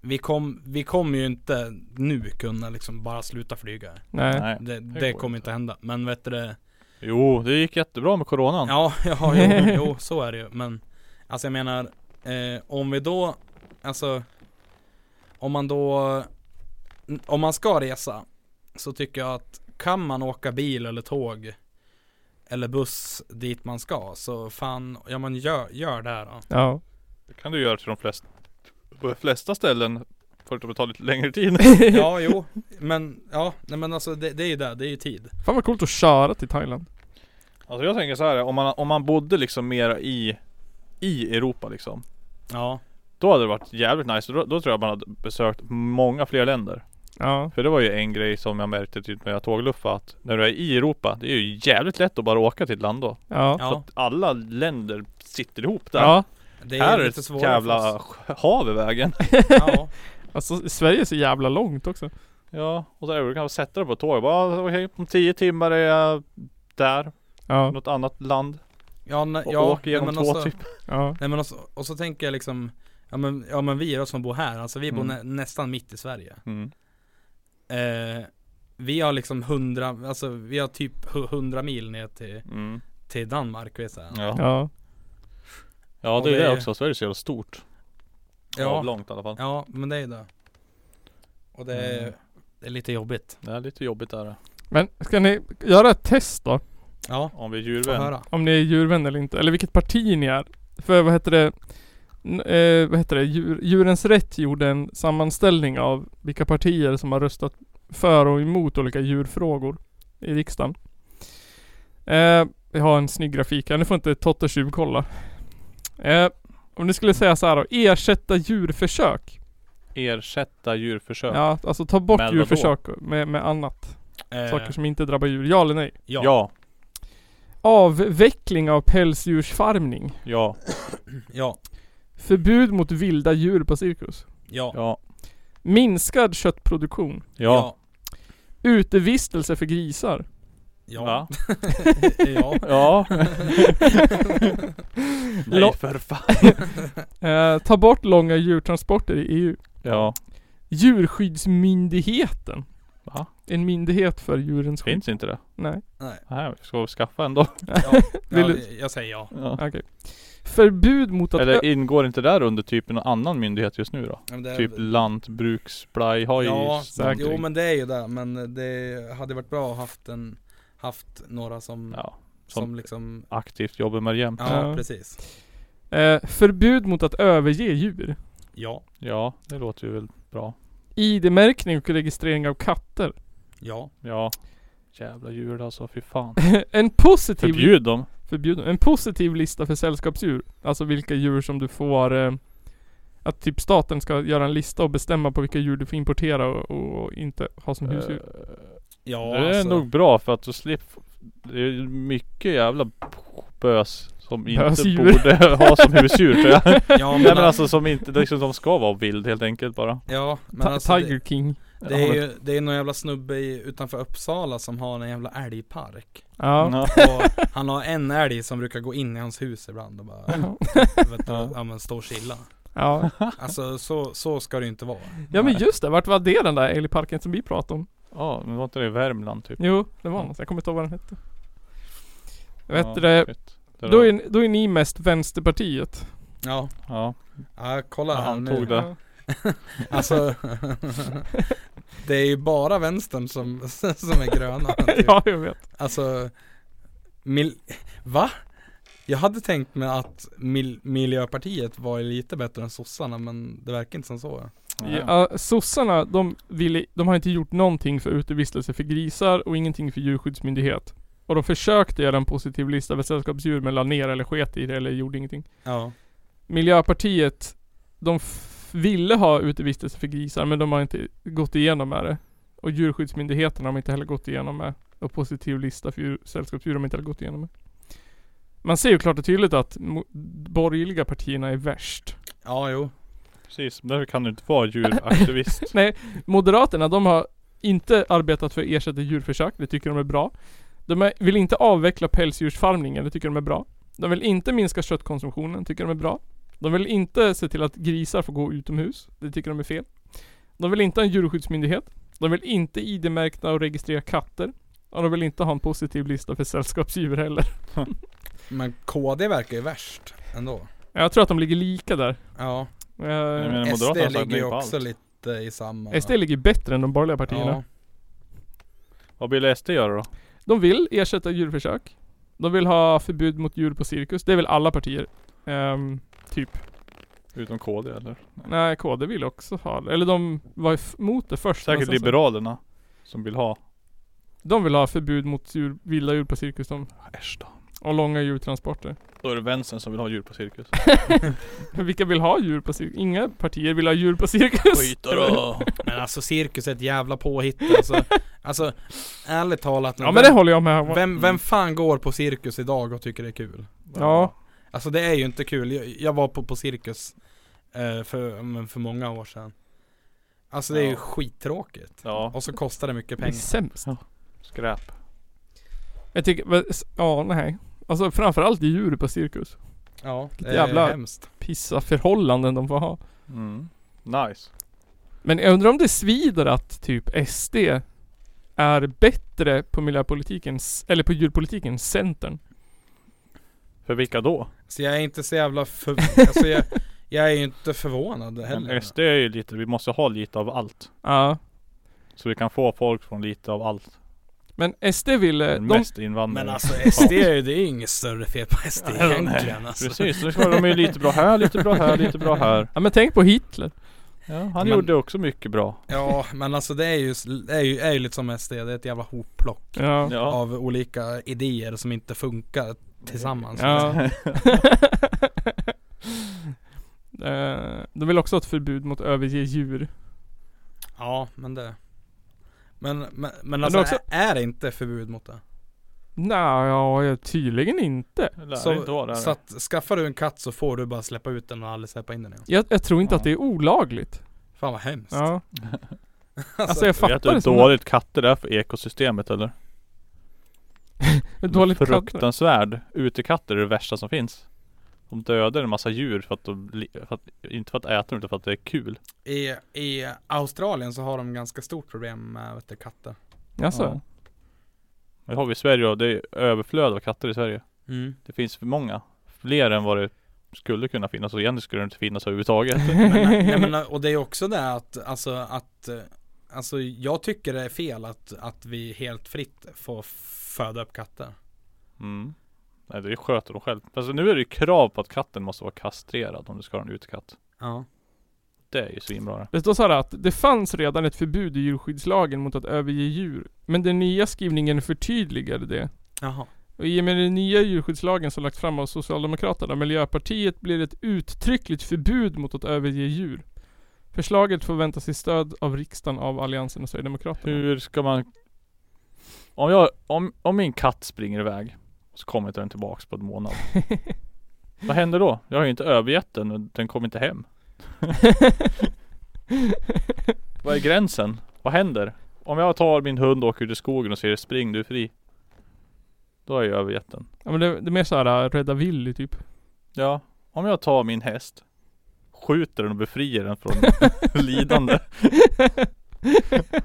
Speaker 2: vi kom- vi kommer ju inte nu kunna liksom bara sluta flyga.
Speaker 3: Nej.
Speaker 1: Nej.
Speaker 2: Det, det,
Speaker 1: går
Speaker 2: kommer
Speaker 1: inte.
Speaker 2: inte hända. Men vet du det?
Speaker 1: Jo, det gick jättebra med coronan.
Speaker 2: Ja, ja jo, jo, så är det ju. Men alltså jag menar, eh, om vi då, alltså om man då, om man ska resa så tycker jag att kan man åka bil eller tåg eller buss dit man ska så fan, ja man gör, gör det här då.
Speaker 3: Ja.
Speaker 1: Det kan du göra till de flesta, på de flesta ställen. Förutom att det tar lite längre tid.
Speaker 2: Ja, jo, men ja, nej men alltså det, det är ju det, det är ju tid.
Speaker 3: Fan vad coolt att köra till Thailand.
Speaker 1: Alltså jag tänker så här, om man, om man bodde liksom mera i, i Europa liksom.
Speaker 2: Ja,
Speaker 1: Då hade det varit jävligt nice. Då, då tror jag man hade besökt många fler länder.
Speaker 3: Ja.
Speaker 1: För det var ju en grej som jag märkte typ när jag tågluffade. Att när du är i Europa, det är ju jävligt lätt att bara åka till ett land då.
Speaker 3: Ja.
Speaker 1: Så
Speaker 2: ja,
Speaker 1: att alla länder sitter ihop där.
Speaker 3: Ja.
Speaker 2: det
Speaker 1: här
Speaker 2: är
Speaker 1: är
Speaker 2: lite
Speaker 1: ett
Speaker 2: svårare för
Speaker 1: jävla
Speaker 2: oss.
Speaker 1: hav i vägen.
Speaker 2: Ja,
Speaker 3: Alltså Sverige är så jävla långt också.
Speaker 1: Ja, och så är det, du kan sätta dig på ett tåg och bara okej, om tio timmar är jag där,
Speaker 3: Ja.
Speaker 1: något annat land
Speaker 2: ja, nej,
Speaker 1: och
Speaker 2: ja,
Speaker 1: åker genom
Speaker 2: nej, men
Speaker 1: två
Speaker 2: alltså-
Speaker 1: typ.
Speaker 3: Ja.
Speaker 2: Nej men och så, och så tänker jag liksom Ja men, ja, men vi då som bor här, alltså vi bor
Speaker 1: Mm.
Speaker 2: nä, nästan mitt i Sverige
Speaker 1: Mm.
Speaker 2: eh, Vi har liksom hundra, alltså vi har typ hu- hundra mil ner till,
Speaker 1: Mm.
Speaker 2: till Danmark vet jag.
Speaker 1: Ja.
Speaker 3: Ja.
Speaker 1: ja,
Speaker 2: Och
Speaker 1: det är
Speaker 2: det
Speaker 1: det
Speaker 2: är-
Speaker 1: också. Sverige är så jävla stort. Ja.
Speaker 2: Ja,
Speaker 1: Avlångt i alla fall.
Speaker 2: ja men det är ju det Och det är,
Speaker 1: Mm.
Speaker 2: det är lite jobbigt
Speaker 1: Det är lite jobbigt där.
Speaker 3: Men ska ni göra ett test då?
Speaker 2: Ja,
Speaker 1: Om vi är
Speaker 2: få
Speaker 1: djurvän.
Speaker 2: höra
Speaker 3: Om ni är djurvän eller inte, eller vilket parti ni är. För vad heter det? N- eh, vad heter det? Djur, djurens rätt gjorde en sammanställning av vilka partier som har röstat för och emot olika djurfrågor i riksdagen. Eh, jag har en snygg grafik här, nu får inte Totte tjuvkolla. Eh, om ni skulle säga så här då, ersätta djurförsök.
Speaker 1: Ersätta djurförsök. Ja.
Speaker 3: Ja, alltså ta bort
Speaker 1: Men vadå?
Speaker 3: djurförsök med, med annat.
Speaker 2: eh,
Speaker 3: Saker som inte drabbar djur. Ja eller nej?
Speaker 2: ja. ja,
Speaker 1: ja.
Speaker 3: Avveckling av pälsdjursfarmning.
Speaker 1: Ja.
Speaker 2: ja,
Speaker 3: Förbud mot vilda djur på cirkus.
Speaker 2: Ja. Ja.
Speaker 1: Ja.
Speaker 3: Minskad köttproduktion.
Speaker 1: Ja.
Speaker 3: Utevistelse för grisar.
Speaker 1: Ja.
Speaker 2: Ja. ja.
Speaker 1: Ja. Nej
Speaker 3: Lo-
Speaker 1: för fan.
Speaker 3: Eh, ta bort långa djurtransporter i E EU.
Speaker 1: Ja.
Speaker 3: Djurskyddsmyndigheten.
Speaker 1: Va?
Speaker 3: En myndighet för djurens skydd.
Speaker 1: Finns inte det?
Speaker 3: Nej.
Speaker 2: Nej.
Speaker 1: Nej, vi ska skaffa en då.
Speaker 2: Ja.
Speaker 3: Vill
Speaker 2: Ja,
Speaker 3: du-
Speaker 2: det- jag säger ja.
Speaker 1: Ja.
Speaker 3: Okej. Förbud mot att...
Speaker 1: Eller ingår inte där under typ någon annan myndighet just nu då?
Speaker 2: Men det-
Speaker 1: Typ lantbruksplaj, har ju
Speaker 2: Ja,
Speaker 3: säkert.
Speaker 2: jo men det är ju det. Men det hade varit bra att haft en Haft några som,
Speaker 1: Ja,
Speaker 2: som,
Speaker 1: som
Speaker 2: liksom
Speaker 1: aktivt jobbar med det jämt.
Speaker 2: Ja,
Speaker 3: Ja.
Speaker 2: precis.
Speaker 3: Eh, förbud mot att överge djur.
Speaker 2: Ja.
Speaker 1: Ja, det låter ju väl bra.
Speaker 3: ID-märkning och registrering av katter.
Speaker 2: Ja.
Speaker 1: Ja. Jävla djur alltså, fy fan.
Speaker 3: en positiv...
Speaker 1: Förbjud dem.
Speaker 3: förbjuden. En positiv lista för sällskapsdjur. Alltså vilka djur som du får... Eh, att typ staten ska göra en lista och bestämma på vilka djur du får importera och, och inte ha
Speaker 1: Eh,
Speaker 3: som husdjur.
Speaker 2: Ja,
Speaker 1: det är
Speaker 2: alltså.
Speaker 1: nog bra för att du slipper Det är mycket jävla bös som
Speaker 3: Bösdjur.
Speaker 1: inte borde ha som husdjur tror jag. Nej
Speaker 2: Ja men,
Speaker 1: men alltså som inte, det är liksom, som ska vara vild helt enkelt bara.
Speaker 2: ja, men
Speaker 3: Ta-
Speaker 2: alltså
Speaker 3: Tiger
Speaker 2: det,
Speaker 3: King.
Speaker 2: det är ju det är någon jävla snubbe i, utanför Uppsala som har en jävla älgpark
Speaker 3: Ja.
Speaker 1: Ja.
Speaker 2: Och han har en älg som brukar gå in i hans hus ibland och bara vet du,
Speaker 1: Ja.
Speaker 2: ja men stå och chilla
Speaker 3: ja.
Speaker 2: Alltså så, så ska det ju inte vara
Speaker 3: ja men just det, vart var det den där älgparken som vi pratade om?
Speaker 1: Ja, men var inte det i Värmland typ?
Speaker 3: Jo, det var något. Jag kommer inte ihåg vad den hette. Vet
Speaker 1: ja,
Speaker 3: du det,
Speaker 1: shit. Det
Speaker 3: då
Speaker 1: där-
Speaker 3: är, då är ni mest Vänsterpartiet.
Speaker 2: Ja,
Speaker 1: Ja.
Speaker 2: ja kolla
Speaker 1: Ja,
Speaker 2: här
Speaker 1: han
Speaker 2: nu
Speaker 1: tog det.
Speaker 2: Alltså Det är ju bara vänstern som, som är gröna typ.
Speaker 3: ja, jag vet.
Speaker 2: Alltså mil- Va? Jag hade tänkt mig att mil- Miljöpartiet var lite bättre än sossarna men det verkar inte som så
Speaker 3: Ja, sossarna, de, ville, de har inte gjort någonting för utevistelse för grisar och ingenting för djurskyddsmyndighet. Och de försökte göra en positiv lista för sällskapsdjur men la ner eller sket i det eller gjorde ingenting.
Speaker 2: Ja
Speaker 3: Miljöpartiet, de f- ville ha utevistelse för grisar men de har inte gått igenom med det. Och djurskyddsmyndigheten har de inte heller gått igenom med. Och positiv lista för djur, sällskapsdjur har de inte heller gått igenom med. Man ser ju klart och tydligt att mo- borgerliga partierna är värst.
Speaker 2: Ja jo
Speaker 1: Precis, därför kan du inte vara djuraktivist.
Speaker 3: Nej, Moderaterna de har inte arbetat för att ersätta djurförsök, det tycker de är bra. De är, vill inte avveckla pälsdjursfarmningen, det tycker de är bra. De vill inte minska köttkonsumtionen, tycker de är bra. De vill inte se till att grisar får gå utomhus, det tycker de är fel. De vill inte ha en djurskyddsmyndighet. De vill inte ID-märkta och registrera katter. Och de vill inte ha en positiv lista för sällskapsdjur heller.
Speaker 2: Men KD verkar ju värst ändå
Speaker 3: Jag tror att de ligger lika där.
Speaker 2: Ja
Speaker 1: Jag
Speaker 3: Eh,
Speaker 1: menar,
Speaker 2: SD
Speaker 1: Moderaterna har sagt
Speaker 2: ligger
Speaker 1: nej
Speaker 2: ju
Speaker 1: på
Speaker 2: också
Speaker 1: allt.
Speaker 2: lite i samma
Speaker 3: SD ligger bättre än de borgerliga partierna.
Speaker 2: Ja,
Speaker 1: Vad vill SD göra då?
Speaker 3: De vill ersätta djurförsök. De vill ha förbud mot djur på cirkus. Det är väl alla partier. Ehm, typ.
Speaker 1: Utom KD eller?
Speaker 3: Nej, KD vill också ha det. Eller de var emot det först. men
Speaker 1: Säkert
Speaker 3: sen så-
Speaker 1: Liberalerna. Som vill ha.
Speaker 3: De vill ha förbud mot djur, vilda djur på cirkus. De,
Speaker 1: Äsch då.
Speaker 3: och långa djurtransporter.
Speaker 1: Då är det vänstern som vill ha djur på cirkus.
Speaker 3: Vilka vill ha djur på cirkus? Inga partier vill ha djur på cirkus.
Speaker 1: då!
Speaker 2: Men alltså cirkus är ett jävla påhitt alltså Alltså ärligt talat
Speaker 3: Ja men det håller jag med om.
Speaker 2: vem, vem fan går på cirkus idag och tycker det är kul?
Speaker 3: Ja.
Speaker 2: Alltså det är ju inte kul. Jag, jag var på, på cirkus eh, för, men för många år sedan. Alltså det är ju
Speaker 1: Ja.
Speaker 2: skittråkigt.
Speaker 1: Ja.
Speaker 2: Och så kostar det mycket
Speaker 3: Det är
Speaker 2: pengar.
Speaker 3: sämst.
Speaker 1: Skräp.
Speaker 3: Jag tycker, men s- ja nej. Alltså framförallt djur på cirkus.
Speaker 2: Ja, det är
Speaker 3: jävla-
Speaker 2: hemskt.
Speaker 3: Pissa förhållanden de får ha.
Speaker 1: Mm. Nice.
Speaker 3: Men jag undrar om det svider att typ SD är bättre på miljöpolitiken, s- eller på djurpolitiken, än Centern.
Speaker 1: För vilka då?
Speaker 2: Så jag är inte så jävla för... alltså jag, jag är ju inte förvånad heller.
Speaker 1: Men SD är ju lite, vi måste ha lite av allt.
Speaker 3: Ja.
Speaker 1: Så vi kan få folk från lite av allt.
Speaker 3: Men SD ville,
Speaker 1: Men
Speaker 3: eh, de,
Speaker 1: Mest invandrare.
Speaker 2: Eh, Men alltså SD är ju, det är ju inget större fel på SD
Speaker 1: Mm. Nej,
Speaker 2: egentligen alltså.
Speaker 1: Precis, nu ska de ju lite bra här, lite bra här, lite bra här.
Speaker 3: ja men tänk på Hitler.
Speaker 1: Ja, han
Speaker 2: Men-
Speaker 1: gjorde också mycket bra.
Speaker 2: Ja men alltså det är ju, det är ju, är ju lite som SD, det är ett jävla hopplock
Speaker 3: Ja.
Speaker 1: Ja.
Speaker 2: av olika idéer som inte funkar tillsammans.
Speaker 3: Ja. Eh, de vill också ha ett förbud mot att överge djur.
Speaker 2: Ja, men det Men, men, men
Speaker 3: det
Speaker 2: alltså
Speaker 3: är också-
Speaker 2: är är det inte förbud mot det?
Speaker 3: Nej, ja, tydligen inte.
Speaker 1: Det lär
Speaker 2: Så-
Speaker 1: inte vara det här.
Speaker 2: Så att skaffar du en katt så får du bara släppa ut den och aldrig släppa in den igen.
Speaker 3: Jag, jag tror inte
Speaker 1: Ja.
Speaker 3: att det är olagligt.
Speaker 2: Fan vad hemskt.
Speaker 3: Ja.
Speaker 2: Alltså,
Speaker 3: Alltså jag
Speaker 1: Vet du
Speaker 3: fattar
Speaker 1: hur
Speaker 3: det som
Speaker 1: dåligt katter är för ekosystemet eller?
Speaker 3: ett dåligt katter.
Speaker 1: Fruktansvärd. Utekatter är det värsta som finns. De dödar en massa djur för att de, li- för att, inte för att äta dem utan för att det är kul.
Speaker 2: I, I Australien så har de ganska stort problem med vet du, katter.
Speaker 3: Alltså,
Speaker 1: Det har vi i Sverige och det är överflöd av katter i Sverige. Det finns för många. Fler än vad det skulle kunna finnas och egentligen skulle det inte finnas överhuvudtaget.
Speaker 2: Men, nej, men, och det är också det att, alltså att eh, Alltså jag tycker det är fel att, att vi helt fritt får föda upp katter.
Speaker 1: Mm. Nej det sköter de själv. Fast nu är det ju krav på att katten måste vara kastrerad om du ska ha en utekatt.
Speaker 2: Ja.
Speaker 1: Det är ju svinbra det.
Speaker 3: det står så här att det fanns redan ett förbud i djurskyddslagen mot att överge djur. Men den nya skrivningen förtydligade det.
Speaker 2: Jaha.
Speaker 3: Och I och med den nya djurskyddslagen som lagts fram av Socialdemokraterna och Miljöpartiet blir det ett uttryckligt förbud mot att överge djur. Förslaget förväntas i stöd av riksdagen av Alliansen och Sverigedemokraterna.
Speaker 1: Hur ska man om, jag, om, om min katt springer iväg Så kommer inte den tillbaks på en månad Vad händer då? Jag har ju inte övergett den och den kommer inte hem Vad är gränsen? Vad händer? Om jag tar min hund och åker ut i skogen och säger spring du är fri Då har jag övergett den
Speaker 3: ja, men det, det är mer såhär äh, rädda Willy typ.
Speaker 1: Ja Om jag tar min häst Skjuter den och befriar den från lidande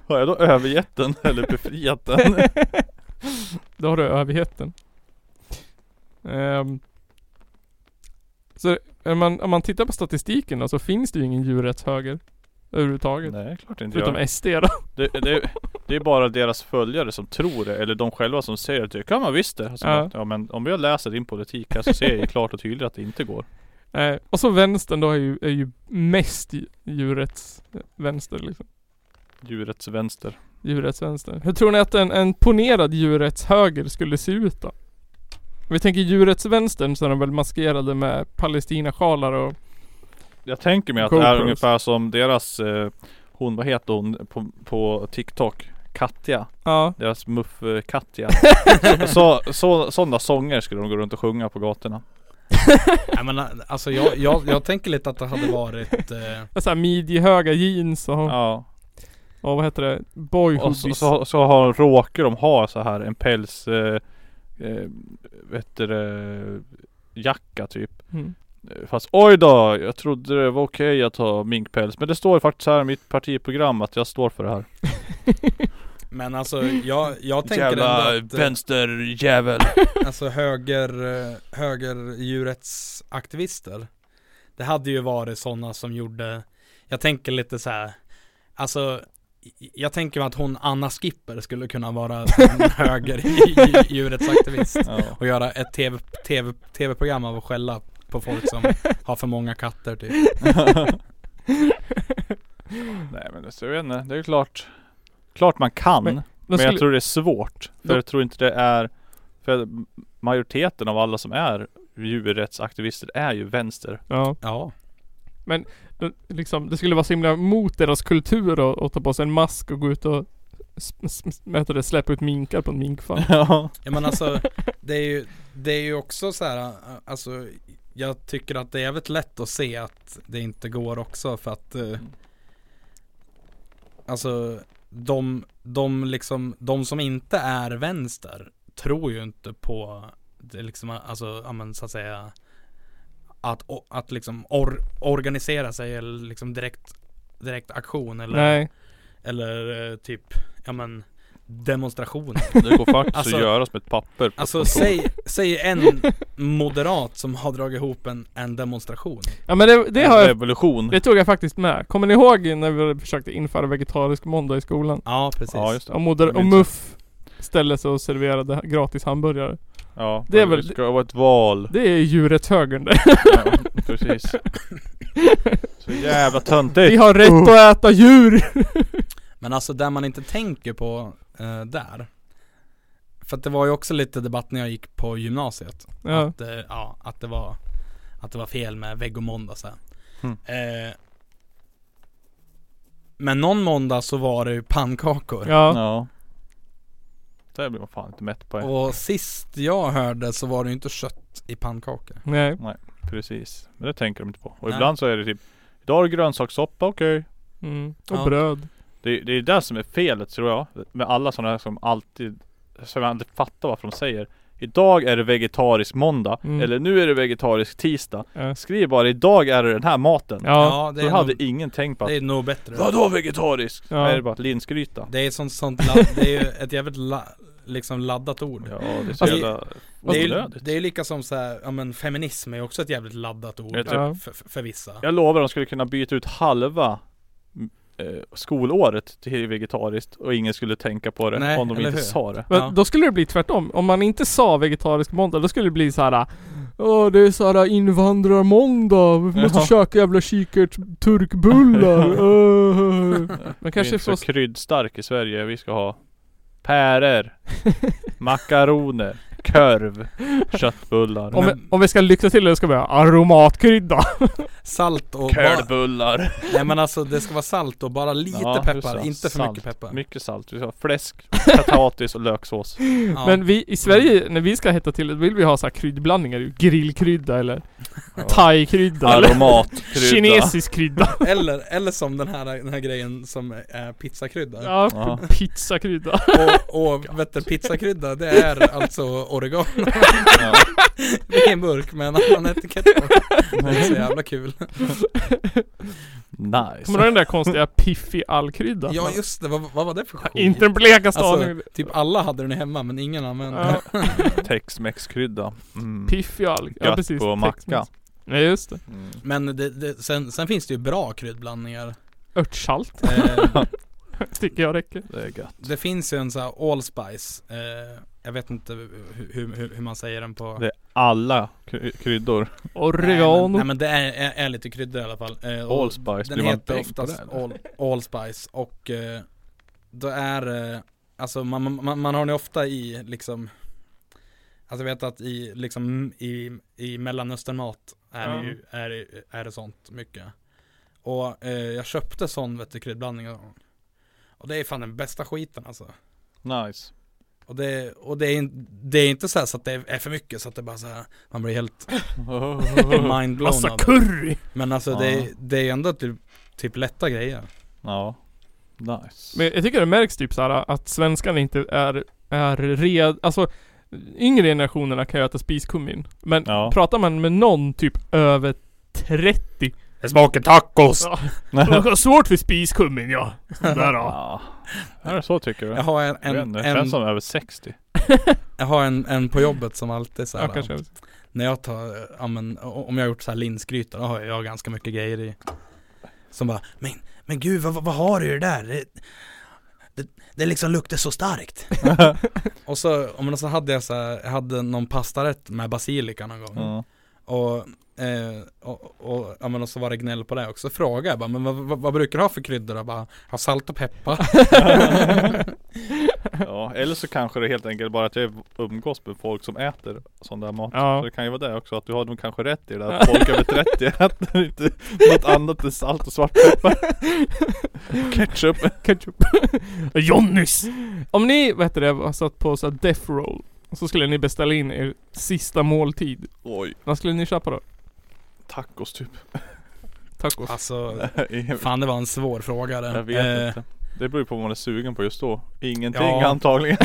Speaker 1: Har jag då övergett den eller befriat den?
Speaker 3: Då har du överheten. Ehm. så om man, om man tittar på statistiken då, så finns det ju ingen djurrättshöger. Överhuvudtaget.
Speaker 1: Nej klart inte jag.
Speaker 3: Förutom SD då.
Speaker 1: Det, det, det är bara deras följare som tror det, eller de själva som säger att det kan man visst det. Alltså,
Speaker 3: Ja.
Speaker 1: ja. men om jag läser din politik här så ser jag ju klart och tydligt att det inte går.
Speaker 3: Nej, Eh, och så vänstern då är ju, är ju mest dj- djurrätts vänster liksom.
Speaker 1: Djurets vänster.
Speaker 3: Djurrättsvänster. Hur tror ni att en, en ponerad djurrättshöger skulle se ut då? Om vi tänker djurrättsvänstern så är de väl maskerade med palestinasjalar och
Speaker 1: Jag tänker mig att det är
Speaker 3: GoPros.
Speaker 1: ungefär som deras, eh, hon, vad heter hon på, på TikTok? Katja.
Speaker 3: ja,
Speaker 1: Deras muff-Katja. så, så, sådana sånger skulle de gå runt och sjunga på gatorna.
Speaker 2: Nej, men, alltså jag, jag, jag tänker lite att det hade varit eh,
Speaker 3: såhär midjehöga jeans och,
Speaker 1: Ja.
Speaker 3: och vad heter det?
Speaker 1: Och så,
Speaker 3: Boyhoodies.
Speaker 1: så, så har, råkar de ha så här en päls, eh, eh, vet du, det, jacka typ.
Speaker 3: Mm.
Speaker 1: Fast oj då, jag trodde det var okej att ha minkpäls. Men det står faktiskt här i mitt partiprogram att jag står för det här.
Speaker 2: Men alltså jag, jag tänker ändå att eh,
Speaker 1: vänsterjävel.
Speaker 2: Alltså höger, eh, högerdjurrättsaktivister Det hade ju varit sådana som gjorde Jag tänker lite så här. Alltså j- Jag tänker mig att hon Anna Skipper skulle kunna vara en höger dj- djurrättsaktivist
Speaker 1: ja.
Speaker 2: Och göra ett TV, TV, tv-program av att skälla på folk som har för många katter typ
Speaker 1: Nej men det så jag vet inte. det är ju klart. Klart man kan. Men,
Speaker 3: Men- De skulle,
Speaker 1: jag tror det är svårt. För
Speaker 3: Då-
Speaker 1: jag tror inte det är. För majoriteten av alla som är djurrättsaktivister är ju vänster.
Speaker 3: ja,
Speaker 2: Ja
Speaker 3: de- liksom, det skulle vara så himla mot deras kultur att, att ta på sig en mask och gå ut och s- s- s- vad heter det, släppa ut minkar på en minkfarm.
Speaker 1: Ja.
Speaker 2: Ja men alltså det är ju, det är ju också så här, äh, alltså jag tycker att det är jävligt lätt att se att det inte går också för att eh, Alltså de, de liksom, de som inte är vänster tror ju inte på det liksom, alltså ja men så att säga att, o- att liksom or, organisera sig eller liksom direkt, direkt aktion eller,
Speaker 3: Nej.
Speaker 2: eller eh, typ, ja men demonstrationer
Speaker 1: Det går faktiskt
Speaker 2: Alltså-
Speaker 1: att göra som ett papper. på
Speaker 2: Alltså
Speaker 1: ett kontor.
Speaker 2: säg, säg en moderat som har dragit ihop en, en demonstration.
Speaker 3: Ja men det, det har
Speaker 1: Eh,
Speaker 3: jag
Speaker 1: Revolution.
Speaker 3: Det tog jag faktiskt med. Kommer ni ihåg när vi försökte införa vegetarisk måndag i skolan?
Speaker 2: Ja precis.
Speaker 1: Ja just det.
Speaker 3: Och, moder- och
Speaker 1: minns det.
Speaker 3: MUF ställde sig och serverade gratis hamburgare.
Speaker 1: Ja.
Speaker 3: Det är
Speaker 1: men
Speaker 3: väl-
Speaker 1: Det ska vara ett val.
Speaker 3: Det är djuret högern det.
Speaker 1: Ja, precis. Så jävla
Speaker 3: Vi
Speaker 1: töntigt.
Speaker 3: har rätt
Speaker 2: Oh.
Speaker 3: att äta djur!
Speaker 2: Men alltså där man inte tänker på eh, där. För att det var ju också lite debatt när jag gick på gymnasiet.
Speaker 3: Ja.
Speaker 2: Att, eh, ja, att, det, var, att det var fel med veggomåndag så här.
Speaker 1: Mm.
Speaker 2: Eh, men någon måndag så var det ju pannkakor.
Speaker 3: Ja.
Speaker 1: Ja. Det blir man fan inte mätt på.
Speaker 2: Och sist jag hörde så var det ju inte kött i pannkakor.
Speaker 3: Nej.
Speaker 1: Precis. Men det tänker de inte på. Och
Speaker 2: Nej.
Speaker 1: ibland så är det typ Idag är det grönsakssoppa, okej.
Speaker 3: Mm. Och
Speaker 2: Ja.
Speaker 3: bröd.
Speaker 1: Det, det är det som är felet tror jag. Med alla sådana här som alltid Som jag inte fattar varför de säger. Idag är det vegetarisk måndag.
Speaker 3: Mm.
Speaker 1: Eller nu är det vegetarisk tisdag.
Speaker 3: Ja.
Speaker 1: Skriv bara idag är det den här maten.
Speaker 3: ja.
Speaker 1: det
Speaker 2: det,
Speaker 1: så
Speaker 2: är
Speaker 1: hade
Speaker 2: nog,
Speaker 1: ingen tänkt på att
Speaker 2: det är nog bättre.
Speaker 1: Vadå vegetariskt?
Speaker 3: Ja.
Speaker 1: Ja. Är det bara linsgryta?
Speaker 2: Det är ett sånt, sånt ladd, det är ju ett jävligt la, liksom laddat ord.
Speaker 1: Ja det är så
Speaker 2: Fast-
Speaker 1: jävla
Speaker 2: Det är, ju-
Speaker 1: onödigt.
Speaker 2: det är lika som så här, ja men feminism är ju också ett jävligt laddat ord
Speaker 1: Jag
Speaker 3: tror-
Speaker 2: för, för- för vissa.
Speaker 1: Jag lovar de skulle kunna byta ut halva mm, eh, skolåret till vegetariskt och ingen skulle tänka på det
Speaker 2: Nej,
Speaker 1: om de
Speaker 2: eller
Speaker 1: inte
Speaker 2: hur?
Speaker 1: sa det.
Speaker 3: Men
Speaker 2: Ja.
Speaker 3: då skulle det bli tvärtom. Om man inte sa vegetarisk måndag, då skulle det bli så här. Åh, det är så här invandrarmåndag. Vi måste
Speaker 1: Ja.
Speaker 3: köka jävla kikert turkbullar. Öh. Men
Speaker 1: Vi är
Speaker 3: kanske
Speaker 1: inte
Speaker 3: får...
Speaker 1: så kryddstark i Sverige. Vi ska ha päror, makaroner, korv, köttbullar,
Speaker 3: Om, vi,
Speaker 2: Men-
Speaker 3: om vi ska lyxa till det ska vi ha aromatkrydda.
Speaker 2: Salt och bara,
Speaker 1: kölbullar.
Speaker 2: nej men alltså det ska vara salt och bara lite
Speaker 1: Ja, just
Speaker 2: peppar,
Speaker 1: det.
Speaker 2: inte för
Speaker 1: Salt.
Speaker 2: mycket peppar.
Speaker 1: Mycket salt. Vi ska ha fläsk, potatis och löksås.
Speaker 2: Ja.
Speaker 3: Men vi i Sverige, när vi ska hetta till det, vill vi ha så här kryddblandningar. ju. Grillkrydda eller thai-krydda. eller
Speaker 1: Aromatkrydda.
Speaker 3: kinesisk krydda.
Speaker 2: Eller, eller som den här, den här grejen som är pizzakrydda.
Speaker 3: ja,
Speaker 1: Ja.
Speaker 3: pizzakrydda.
Speaker 2: Och, och vet du, pizzakrydda det är alltså oregano
Speaker 1: Ja.
Speaker 2: i en burk med en annan etikett på. Det är så jävla kul.
Speaker 1: Nice.
Speaker 3: Kommer du ihåg den där konstiga piffi-allkrydda?
Speaker 2: Ja just det, vad, vad var det för skit?
Speaker 3: Inte den blekaste aning.
Speaker 2: Alltså, typ alla hade den hemma men ingen använde den.
Speaker 3: Ja,
Speaker 1: Tex-Mex-krydda. Mm.
Speaker 3: Piffi alg. Ja
Speaker 1: Gött
Speaker 3: precis.
Speaker 1: på
Speaker 3: Tex-Mex.
Speaker 1: macka.
Speaker 3: Nej just det.
Speaker 1: Mm.
Speaker 2: Men det, det, sen, sen finns det ju bra kryddblandningar.
Speaker 3: Örtsalt
Speaker 2: Eh,
Speaker 3: tycker jag räcker.
Speaker 1: Det är gött.
Speaker 2: det finns ju en sån här allspice. Eh, jag vet inte hur, hur, hur, hur man säger den på...
Speaker 1: Det är alla kry- kryddor.
Speaker 2: Nej, men, nej
Speaker 3: Oregano.
Speaker 2: men det är, är, är lite kryddor i alla fall. Eh, och
Speaker 1: Allspice,
Speaker 2: Den
Speaker 1: blir man
Speaker 2: heter
Speaker 1: bäng på
Speaker 2: oftast
Speaker 1: det?
Speaker 2: all, Allspice och eh, då är eh, Alltså man, man- man, man har den ju ofta i liksom Alltså jag vet att i liksom i, i mellanösternmat är, det
Speaker 3: Ja.
Speaker 2: ju, är, det- är det sånt mycket Och eh, jag köpte sån vet du kryddblandning av dem. Och det är fan den bästa skiten alltså
Speaker 1: Nice.
Speaker 2: Och det, och det, är, in- det är inte så, här så att det är för mycket så att det bara så här Man blir helt mindblown
Speaker 3: Massa
Speaker 2: av det
Speaker 3: curry.
Speaker 2: Men alltså
Speaker 1: Ja.
Speaker 2: det, är- det är ändå typ, typ lätta grejer
Speaker 1: ja. Nice.
Speaker 3: Men jag tycker det märks typ såhär att svenskarna inte är, är red... Alltså yngre generationerna kan ju äta spiskummin. Men
Speaker 1: Ja.
Speaker 3: pratar man med någon typ över 30.
Speaker 2: Det smakar tacos!
Speaker 3: Ja, de har svårt för spiskummin ja. Där då.
Speaker 1: ja. Är det så tycker du?
Speaker 2: Jag har en,
Speaker 1: jag, vet
Speaker 2: en,
Speaker 1: inte, det
Speaker 2: en,
Speaker 1: känns som över 60.
Speaker 2: jag har en, en på jobbet som alltid så
Speaker 3: Ja,
Speaker 2: här,
Speaker 3: kanske.
Speaker 2: När jag tar, ja, men, o- om jag har gjort så här linsgryta då har jag ganska mycket grejer i Som bara, men, men gud vad, vad har du i det där? Det, det, det liksom luktar så starkt Och så, om så hade jag så här, jag hade någon pastarätt med basilika någon gång
Speaker 1: Ja.
Speaker 2: och, eh, och, och, ja, men, och så var det gnäll på det också, frågade jag bara, men vad, vad, vad brukar du ha för kryddor? Jag bara, har salt och peppar
Speaker 1: Mm. ja. Eller så kanske det är helt enkelt bara att jag umgås med folk som äter sån där mat.
Speaker 3: Ja.
Speaker 1: Så det kan ju vara det också, att du har nog kanske rätt i det där. att folk över 30 äter inte något annat än salt och svartpeppar. Och ketchup.
Speaker 3: Ketchup. Johnnys! Om ni, vad heter det, var satt på så här death roll. Så skulle ni beställa in er sista måltid.
Speaker 1: Oj,
Speaker 3: Vad skulle ni köpa då?
Speaker 1: tacos typ.
Speaker 3: Tacos?
Speaker 2: Alltså,
Speaker 1: Nej,
Speaker 2: fan det var en svår fråga det.
Speaker 1: Jag vet
Speaker 2: Eh,
Speaker 1: inte. Det beror ju på vad man är sugen på just då. Ingenting
Speaker 2: Ja.
Speaker 1: antagligen.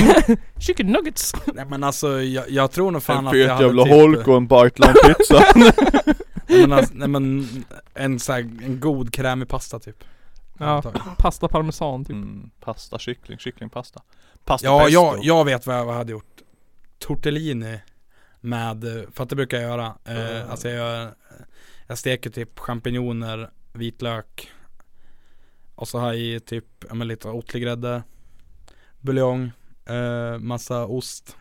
Speaker 3: Chicken nuggets!
Speaker 2: Nej men alltså jag, jag tror nog fan
Speaker 1: en
Speaker 2: att jag
Speaker 1: fet
Speaker 2: hade
Speaker 1: jävla
Speaker 2: typ,
Speaker 1: holk och en bite lång pizza.
Speaker 2: nej, men, alltså, nej men en så här, en god krämig pasta typ
Speaker 3: Ja, pasta parmesan typ.
Speaker 1: mm, pasta, kyckling, kycklingpasta. Pasta
Speaker 2: Ja
Speaker 1: pesto.
Speaker 2: jag, jag vet vad jag, vad jag hade gjort Tortellini med, eh, för att det brukar jag göra eh,
Speaker 1: Mm.
Speaker 2: Alltså jag gör, Jag steker typ champinjoner, vitlök Och så har jag i typ, ja men lite ottligrädde Buljong, eh, massa ost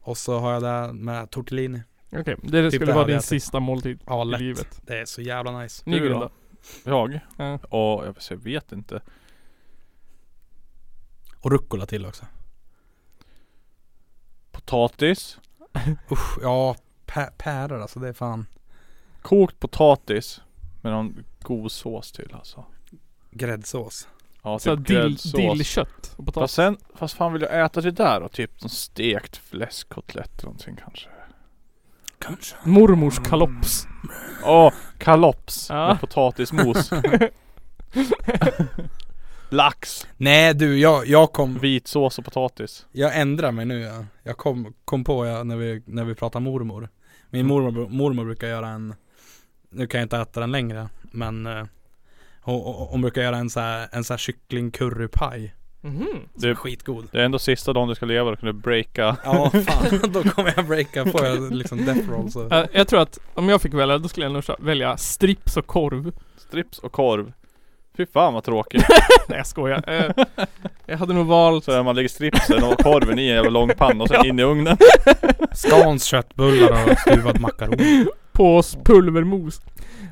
Speaker 2: Och så har jag det med tortellini
Speaker 3: Okej, det
Speaker 2: det
Speaker 3: skulle vara
Speaker 2: hade
Speaker 3: din
Speaker 2: jag tänkt.
Speaker 3: sista måltid
Speaker 2: Ja
Speaker 3: i
Speaker 2: lätt,
Speaker 3: livet.
Speaker 2: det är så jävla nice
Speaker 1: Du
Speaker 3: Nygren
Speaker 1: då?
Speaker 3: då?
Speaker 1: Jag?
Speaker 3: Ja.
Speaker 1: Och jag, jag vet inte.
Speaker 2: Och rucola till också
Speaker 1: Potatis.
Speaker 2: Usch, ja pä- päror alltså det är fan
Speaker 1: Kokt potatis. Med någon god sås till alltså.
Speaker 2: gräddsås
Speaker 1: Ja,
Speaker 3: så här
Speaker 1: typ
Speaker 3: dill,
Speaker 1: gräddsås.
Speaker 3: dillkött och
Speaker 1: Fast
Speaker 3: potatis.
Speaker 1: sen, fast fan vill jag äta det där då? Typ någon stekt fläskkotlett eller någonting kanske.
Speaker 4: Kanske.
Speaker 3: Mormors kalops.
Speaker 1: Åh, kalops
Speaker 3: Ja.
Speaker 1: med potatismos. Lax,
Speaker 2: Nej du, jag, jag
Speaker 3: Mm.
Speaker 2: kom
Speaker 1: vitsås och potatis.
Speaker 2: Jag ändrar mig nu ja. Jag kom, kom på ja, när, vi, när vi pratade mormor Min mormor, mormor brukar göra en Nu kan jag inte äta den längre men eh, hon, hon hon brukar göra en så här, en så här kycklingcurrypaj
Speaker 3: Mhm.
Speaker 2: Som är
Speaker 1: Det-
Speaker 2: Skitgod
Speaker 1: Det är ändå sista dagen du ska leva, då kan du breaka.
Speaker 2: Ja fan, då kommer jag breaka, får jag liksom death roll så
Speaker 3: Eh, jag tror att om jag fick välja, då skulle jag nog kö- välja strips och korv.
Speaker 1: Strips och korv. Fy fan vad tråkigt.
Speaker 3: Nej jag skojar. Eh, jag hade nog valt...
Speaker 1: Så när man lägger stripsen och korven i en jävla lång panna och sen in i ugnen.
Speaker 2: Scans, köttbullar och stuvad makaron
Speaker 3: Pås pulvermos.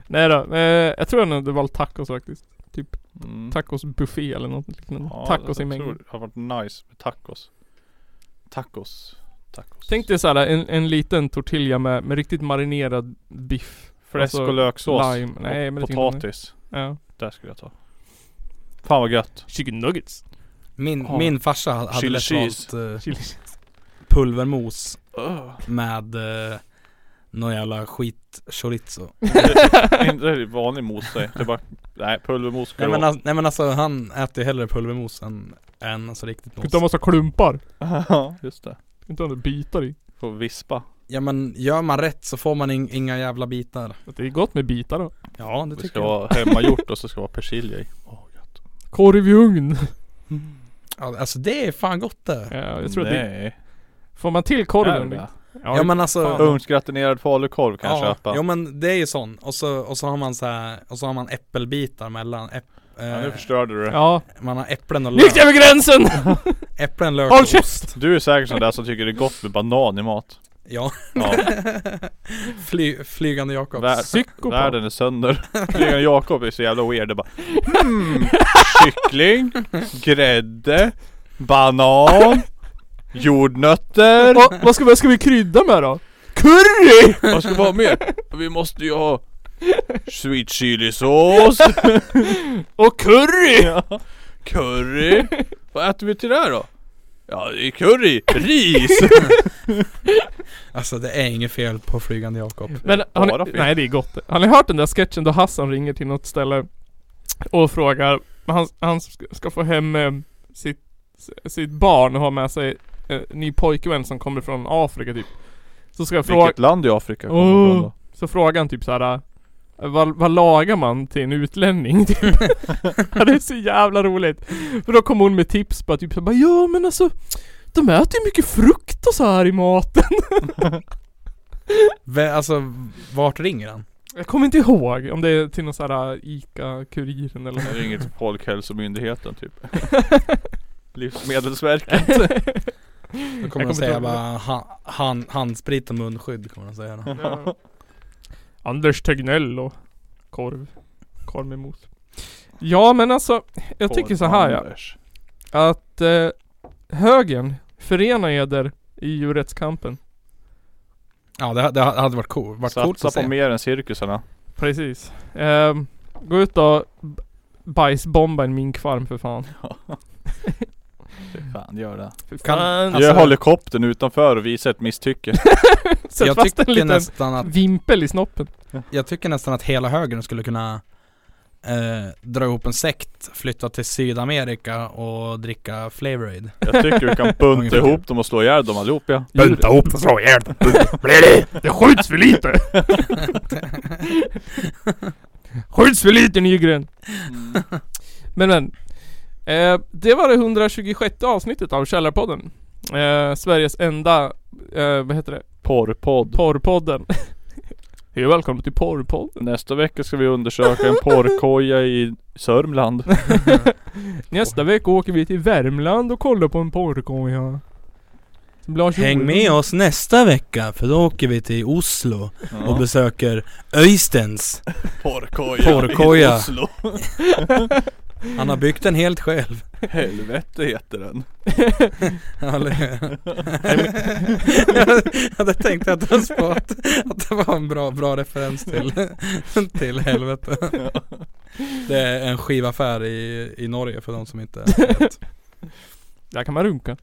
Speaker 3: Nej då, eh, jag tror jag nog hade valt tacos faktiskt.
Speaker 1: Mm.
Speaker 3: Tacosbuffé eller något liknande.
Speaker 1: Ja,
Speaker 3: tacos i
Speaker 1: jag
Speaker 3: mängd.
Speaker 1: tror Det har varit nice med tacos. Tacos. Tacos.
Speaker 3: Tänk dig såhär en, en liten tortilla med, med riktigt marinerad biff.
Speaker 1: Fläsk
Speaker 3: alltså,
Speaker 1: och löksås.
Speaker 3: lime.
Speaker 1: Och
Speaker 3: Nej, men det tycker jag inte.
Speaker 1: potatis.
Speaker 3: Ja.
Speaker 1: Där skulle jag ta. Fan vad gött.
Speaker 3: Chicken nuggets.
Speaker 2: Min,
Speaker 1: Ja.
Speaker 2: min farsa hade
Speaker 1: Chili
Speaker 2: lätt
Speaker 1: cheese.
Speaker 2: valt eh,
Speaker 3: Chili.
Speaker 2: pulvermos
Speaker 1: Öh.
Speaker 2: med uh, någon jävla skit chorizo
Speaker 1: Inte riktigt vanlig mos nej. Det är bara, nej pulvermos ska
Speaker 2: Nej
Speaker 1: det
Speaker 2: men,
Speaker 1: vara.
Speaker 2: alltså, nej men alltså han äter ju hellre pulvermos än, än alltså riktigt
Speaker 3: Ska inte ha
Speaker 2: mos.
Speaker 3: massa klumpar.
Speaker 2: alltså-
Speaker 1: Ja, just det.
Speaker 3: Ska inte ha några bitar i.
Speaker 1: Får vispa.
Speaker 2: Ja men gör man rätt så får man in, inga jävla bitar.
Speaker 3: Det är gott med bitar då.
Speaker 2: Ja det
Speaker 1: Det
Speaker 2: tycker
Speaker 1: ska
Speaker 2: jag.
Speaker 1: vara hemmagjort och så ska det vara persilja i. Åh, gött.
Speaker 3: Korv i ugn.
Speaker 2: Ja, Alltså det är fan gott det.
Speaker 3: Ja, jag tror att det,
Speaker 1: Nej.
Speaker 3: får man till
Speaker 1: Korven.
Speaker 3: korven.
Speaker 1: Ja,
Speaker 2: Ja, men alltså.
Speaker 3: fan.
Speaker 1: Ugnsgratinerad falukorv kan jag
Speaker 2: ja,
Speaker 1: köpa.
Speaker 2: ja men det är ju sån. Och så, och så har man så här, och så har man äppelbitar mellan. Äpp,
Speaker 1: Ja, nu
Speaker 2: eh,
Speaker 1: förstörde du det.
Speaker 3: Ja.
Speaker 2: man har äpplen och
Speaker 3: Nykt
Speaker 2: lök.
Speaker 3: över gränsen!
Speaker 2: Äpplen, lök
Speaker 3: Håll
Speaker 2: och ost.
Speaker 3: käft!
Speaker 1: Du är säkert sån där som tycker det är gott med banan i mat.
Speaker 2: Ja.
Speaker 1: Ja.
Speaker 2: Fly, flygande Jakobs.
Speaker 1: Vär-
Speaker 3: Psykopat.
Speaker 1: Världen är sönder. Flygande Jakob är så jävla weird. Det bara hmm, kyckling, grädde, banan, jordnötter.
Speaker 3: Va, vad ska vi, ska vi krydda med då? Curry!
Speaker 1: Vad ska vara mer? Vi måste ju ha sweet chili sås.
Speaker 3: Och curry!
Speaker 1: Ja. Curry. Vad äter vi till det här då? Ja, det är curry. Ris.
Speaker 2: Alltså det är inget fel på flygande Jakob.
Speaker 3: Men har
Speaker 1: Eh, Bara
Speaker 3: ni,
Speaker 1: fel.
Speaker 3: nej det är gott. Har ni hört den där sketchen då Hassan ringer till något ställe och frågar, han, han ska- ska få hem eh, sitt, sitt barn och ha med sig eh, ny pojkvän som kommer från Afrika typ. Så ska jag fråga,
Speaker 1: Vilket land i Afrika kommer
Speaker 3: Åh.
Speaker 1: från då?
Speaker 3: så frågar han typ såhär eh, vad, vad lagar man till en utlänning? Typ. Ja, det är så jävla roligt. För då kom hon med tips på att typ så bara, ja men alltså de äter ju mycket frukt och så här i maten.
Speaker 2: Vä- Alltså vart ringer han?
Speaker 3: Jag kommer inte ihåg om det är till någon sån här eh, ICA-kuriren eller
Speaker 1: Det är inget Folkhälsomyndigheten typ. Livsmedelsverket.
Speaker 2: Då
Speaker 3: Jag
Speaker 2: kommer de
Speaker 3: kommer
Speaker 2: säga
Speaker 3: inte ihåg
Speaker 2: bara ha- han, handsprit och munskydd kommer de säga då.
Speaker 3: Ja. Anders Tegnell och korv. Korv med mos. Ja men alltså, jag tycker så här ja.
Speaker 1: Anders.
Speaker 3: Att eh, högern, förena eder i djurrättskampen.
Speaker 2: Ja det, det hade varit cool, varit coolt
Speaker 1: Satsa
Speaker 2: att
Speaker 1: på
Speaker 2: se.
Speaker 1: mer än cirkusarna.
Speaker 3: Precis. Ehm, gå ut och b- bajsbomba en minkfarm för fan.
Speaker 1: Fan gör det.
Speaker 3: För
Speaker 2: Kan-
Speaker 3: fan.
Speaker 1: Gör
Speaker 2: Alltså-
Speaker 1: helikoptern utanför och visa ett misstycke.
Speaker 3: Sätt
Speaker 2: jag
Speaker 3: fast en
Speaker 2: tycker,
Speaker 3: liten
Speaker 2: nästan att,
Speaker 3: vimpel i snoppen.
Speaker 2: jag tycker nästan att hela högern skulle kunna eh, dra ihop en sekt, flytta till Sydamerika och dricka Flavor-Aid.
Speaker 1: Jag tycker du kan bunta ihop dem och slå ihjäl dem allihop ja.
Speaker 3: Bunta
Speaker 2: ihop och slå ihjäl
Speaker 3: Det skjuts för lite! skjuts för lite Nygren!
Speaker 1: Mm.
Speaker 3: Men men. Eh, det var det 126 avsnittet av Källarpodden. Eh, Sveriges enda, eh, vad heter det?
Speaker 1: Porrpodd.
Speaker 3: Porrpodden. Hej och välkommen till Porrpodden.
Speaker 1: Nästa vecka ska vi undersöka en porrkoja i Sörmland.
Speaker 3: Nästa vecka åker vi till Värmland och kollar på en porrkoja. Som Lars
Speaker 2: Häng
Speaker 3: Johansson.
Speaker 2: med oss nästa vecka för då åker vi till Oslo och
Speaker 1: Ja.
Speaker 2: besöker Öysteins
Speaker 1: Porrkoja
Speaker 2: Porrkoja.
Speaker 1: Oslo.
Speaker 2: Han har byggt den helt själv.
Speaker 1: Helvete heter den.
Speaker 2: Ja, eller hur? Jag hade tänkt att det, var, att det var en bra, bra referens till, till helvete. Det är en skivaffär i, i Norge för de som inte vet.
Speaker 3: Där kan man runka.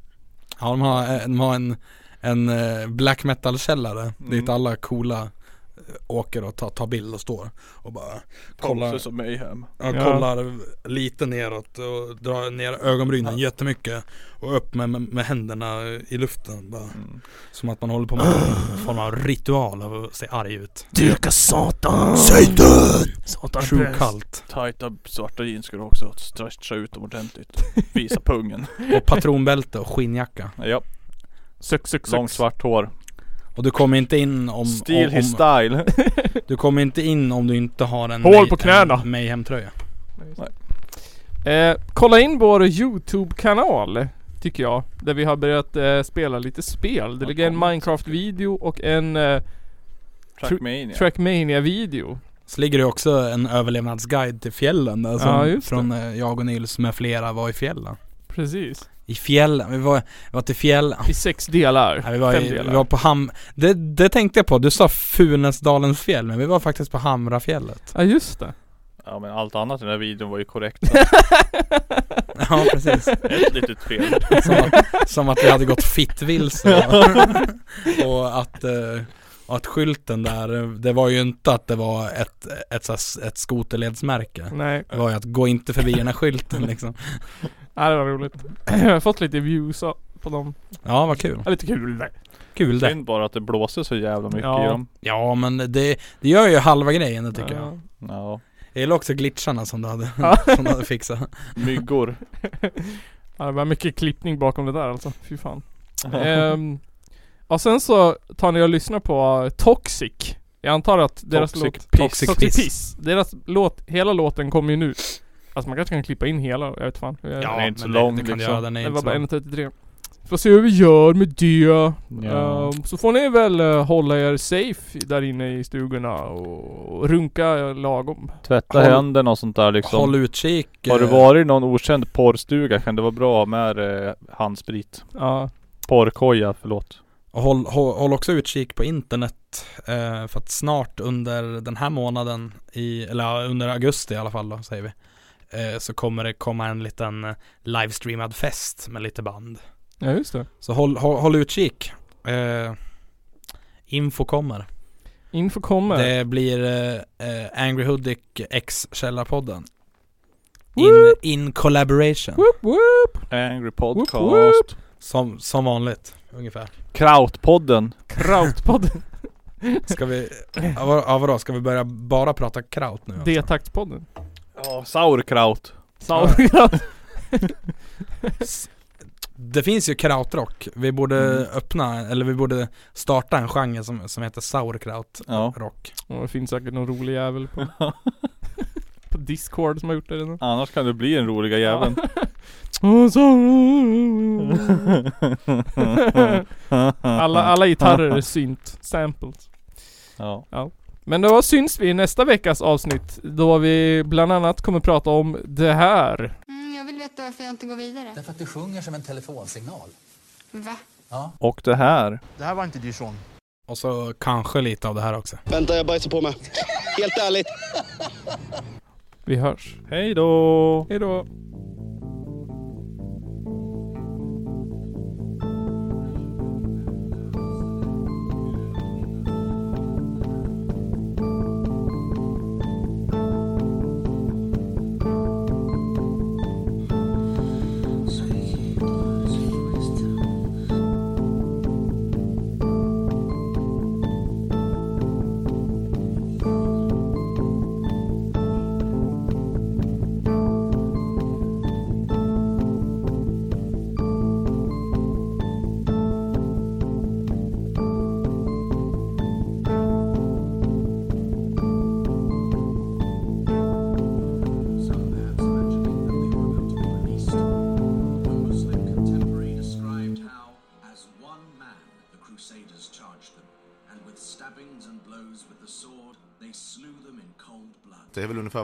Speaker 2: Ja, de har, eh, de har en, en eh, black metal källare dit
Speaker 1: Mm.
Speaker 2: alla coola eh, åker och tar, tar bild och står och bara kollar,
Speaker 1: Tomse som Mayhem.
Speaker 2: ja.
Speaker 3: Ja.
Speaker 2: kollar lite neråt och drar ner ögonbrynen jättemycket och upp med, med, med händerna i luften bara.
Speaker 1: Mm.
Speaker 2: Som att man håller på med en form av ritual av att se arg ut.
Speaker 3: Dyrka Satan! Satan
Speaker 2: True kallt.
Speaker 1: Tajta svarta jeans ska du också stretcha ut dem ordentligt. Visa pungen.
Speaker 2: Och patronbälte och skinnjacka.
Speaker 1: Ja,
Speaker 3: Sök, sök, sök.
Speaker 1: långt svart hår.
Speaker 2: Och du kommer inte in om...
Speaker 1: Steal
Speaker 2: om,
Speaker 1: his
Speaker 2: om
Speaker 1: style.
Speaker 2: du kommer inte in om du inte har en...
Speaker 3: Hål
Speaker 2: May-
Speaker 3: på knäna.
Speaker 2: en Mayhem-tröja.
Speaker 3: Eh, kolla in vår YouTube-kanal, tycker jag. Där vi har börjat eh, spela lite spel. Det ligger en Minecraft-video och en eh,
Speaker 1: Trackmania.
Speaker 3: Trackmania-video.
Speaker 2: Så ligger det också en överlevnadsguide till fjällen där som
Speaker 3: Ja, just det.
Speaker 2: från eh, jag och Nils med flera var i fjällen.
Speaker 3: Precis.
Speaker 2: I fjällen, vi var, vi var till fjällen.
Speaker 3: I sex delar.
Speaker 2: Nej, vi, var
Speaker 3: Fem
Speaker 2: i, vi
Speaker 3: delar.
Speaker 2: var på Ham... Det, det tänkte jag på, du sa Funäsdalens fjäll men vi var faktiskt på Hamrafjället.
Speaker 3: Ja, just det.
Speaker 1: Ja men allt annat i den här videon var ju korrekt.
Speaker 2: Ja precis.
Speaker 1: Ett litet fel.
Speaker 2: Som att, som att vi hade gått fittvilse och- och att, eh, att skylten där, eh, det var ju inte att det var ett, ett, så här- ett skoterledsmärke.
Speaker 3: Nej,
Speaker 2: Det var ju att gå inte förbi den här skylten liksom.
Speaker 3: ja, det var roligt. jag har fått lite views av- på dem.
Speaker 2: Ja vad kul.
Speaker 3: Ja, lite kul där.
Speaker 2: Kul det.
Speaker 1: Synd bara att det blåser så jävla mycket
Speaker 3: Ja.
Speaker 1: i dem.
Speaker 2: Ja men det, det gör ju halva grejen det tycker jag.
Speaker 3: Ja.
Speaker 1: Ja.
Speaker 2: Jag gillar också glitcharna som du hade,
Speaker 3: Ja.
Speaker 2: som du hade fixat.
Speaker 1: Myggor.
Speaker 3: Ja, det var mycket klippning bakom det där alltså. Fy fan. Ehm, och sen så tar ni och lyssnar på eh, Toxic. Jag antar att deras
Speaker 1: Toxic
Speaker 3: låt...
Speaker 2: Piss. Toxic Piss.
Speaker 3: Deras låt, hela låten kommer ju nu. Alltså man kanske kan klippa in hela, jag vet fan. Jag-
Speaker 1: Ja, den är inte så
Speaker 2: men det-
Speaker 1: lång,
Speaker 2: det kan du
Speaker 1: liksom.
Speaker 2: göra, den är
Speaker 3: det
Speaker 2: inte
Speaker 3: var
Speaker 2: så
Speaker 3: bara
Speaker 2: lång.
Speaker 3: 1.33. Får se hur vi gör med det.
Speaker 1: Ja.
Speaker 3: Ehm, så får ni väl eh, hålla er safe där inne i stugorna och och runka eh, lagom.
Speaker 1: Tvätta
Speaker 2: Håll-
Speaker 1: händerna och sånt där liksom.
Speaker 2: Håll utkik.
Speaker 1: Har det
Speaker 2: eh,
Speaker 1: varit någon okänd porrstuga kan det vara bra med eh, handsprit.
Speaker 3: Ja,
Speaker 1: Porrkoja, förlåt.
Speaker 2: Och håll, håll, håll också utkik på internet eh, för att snart under den här månaden, i, eller ja, under augusti i alla fall då, säger vi, eh, så kommer det komma en liten eh, livestreamad fest med lite band.
Speaker 3: ja just det.
Speaker 2: Så håll, håll, håll utkik. Eh, info kommer.
Speaker 3: Info kommer.
Speaker 2: Det blir eh, eh, Angry Hoodic X Källarpodden. In,
Speaker 3: Woop!
Speaker 2: in collaboration.
Speaker 3: Woop, woop.
Speaker 1: Angry
Speaker 3: Whoop,
Speaker 1: podcast.
Speaker 3: whoop.
Speaker 2: Som, som vanligt, ungefär.
Speaker 1: Krautpodden.
Speaker 3: Krautpodden.
Speaker 2: Ska vi, ja, vad- ja, vadå, ska vi börja bara prata kraut nu? alltså?
Speaker 3: D-taktspodden.
Speaker 1: Ja, sauerkraut.
Speaker 3: Sauerkraut.
Speaker 2: S- Det finns ju krautrock. Vi borde öppna, eller vi borde starta en genre som, som heter sauerkrautrock.
Speaker 1: Ja.
Speaker 3: Ja, det finns säkert någon rolig jävel på, på Discord som har gjort det redan.
Speaker 1: Annars kan du bli en roliga jäveln.
Speaker 3: Och så- alla, alla gitarrer är synt. Samples.
Speaker 1: Ja.
Speaker 3: Men då syns vi i nästa veckas avsnitt. Då vi bland annat kommer prata om det här.
Speaker 5: Mm, jag vill veta varför jag inte går vidare.
Speaker 6: Därför att du sjunger som en telefonsignal.
Speaker 5: Va?
Speaker 6: Ja.
Speaker 1: Och det här.
Speaker 7: Det här var inte du sån.
Speaker 2: Och så kanske lite av det här också.
Speaker 8: Vänta, jag bajsar på mig. Helt ärligt.
Speaker 3: Vi hörs.
Speaker 1: Hej då!
Speaker 3: Hejdå.
Speaker 9: Some maps mentioning that they were built to be released. A Muslim contemporary described how, as one man, the Crusaders charged them, and with stabbings and blows with the sword, They slew them in cold blood.
Speaker 7: Det är väl ungefär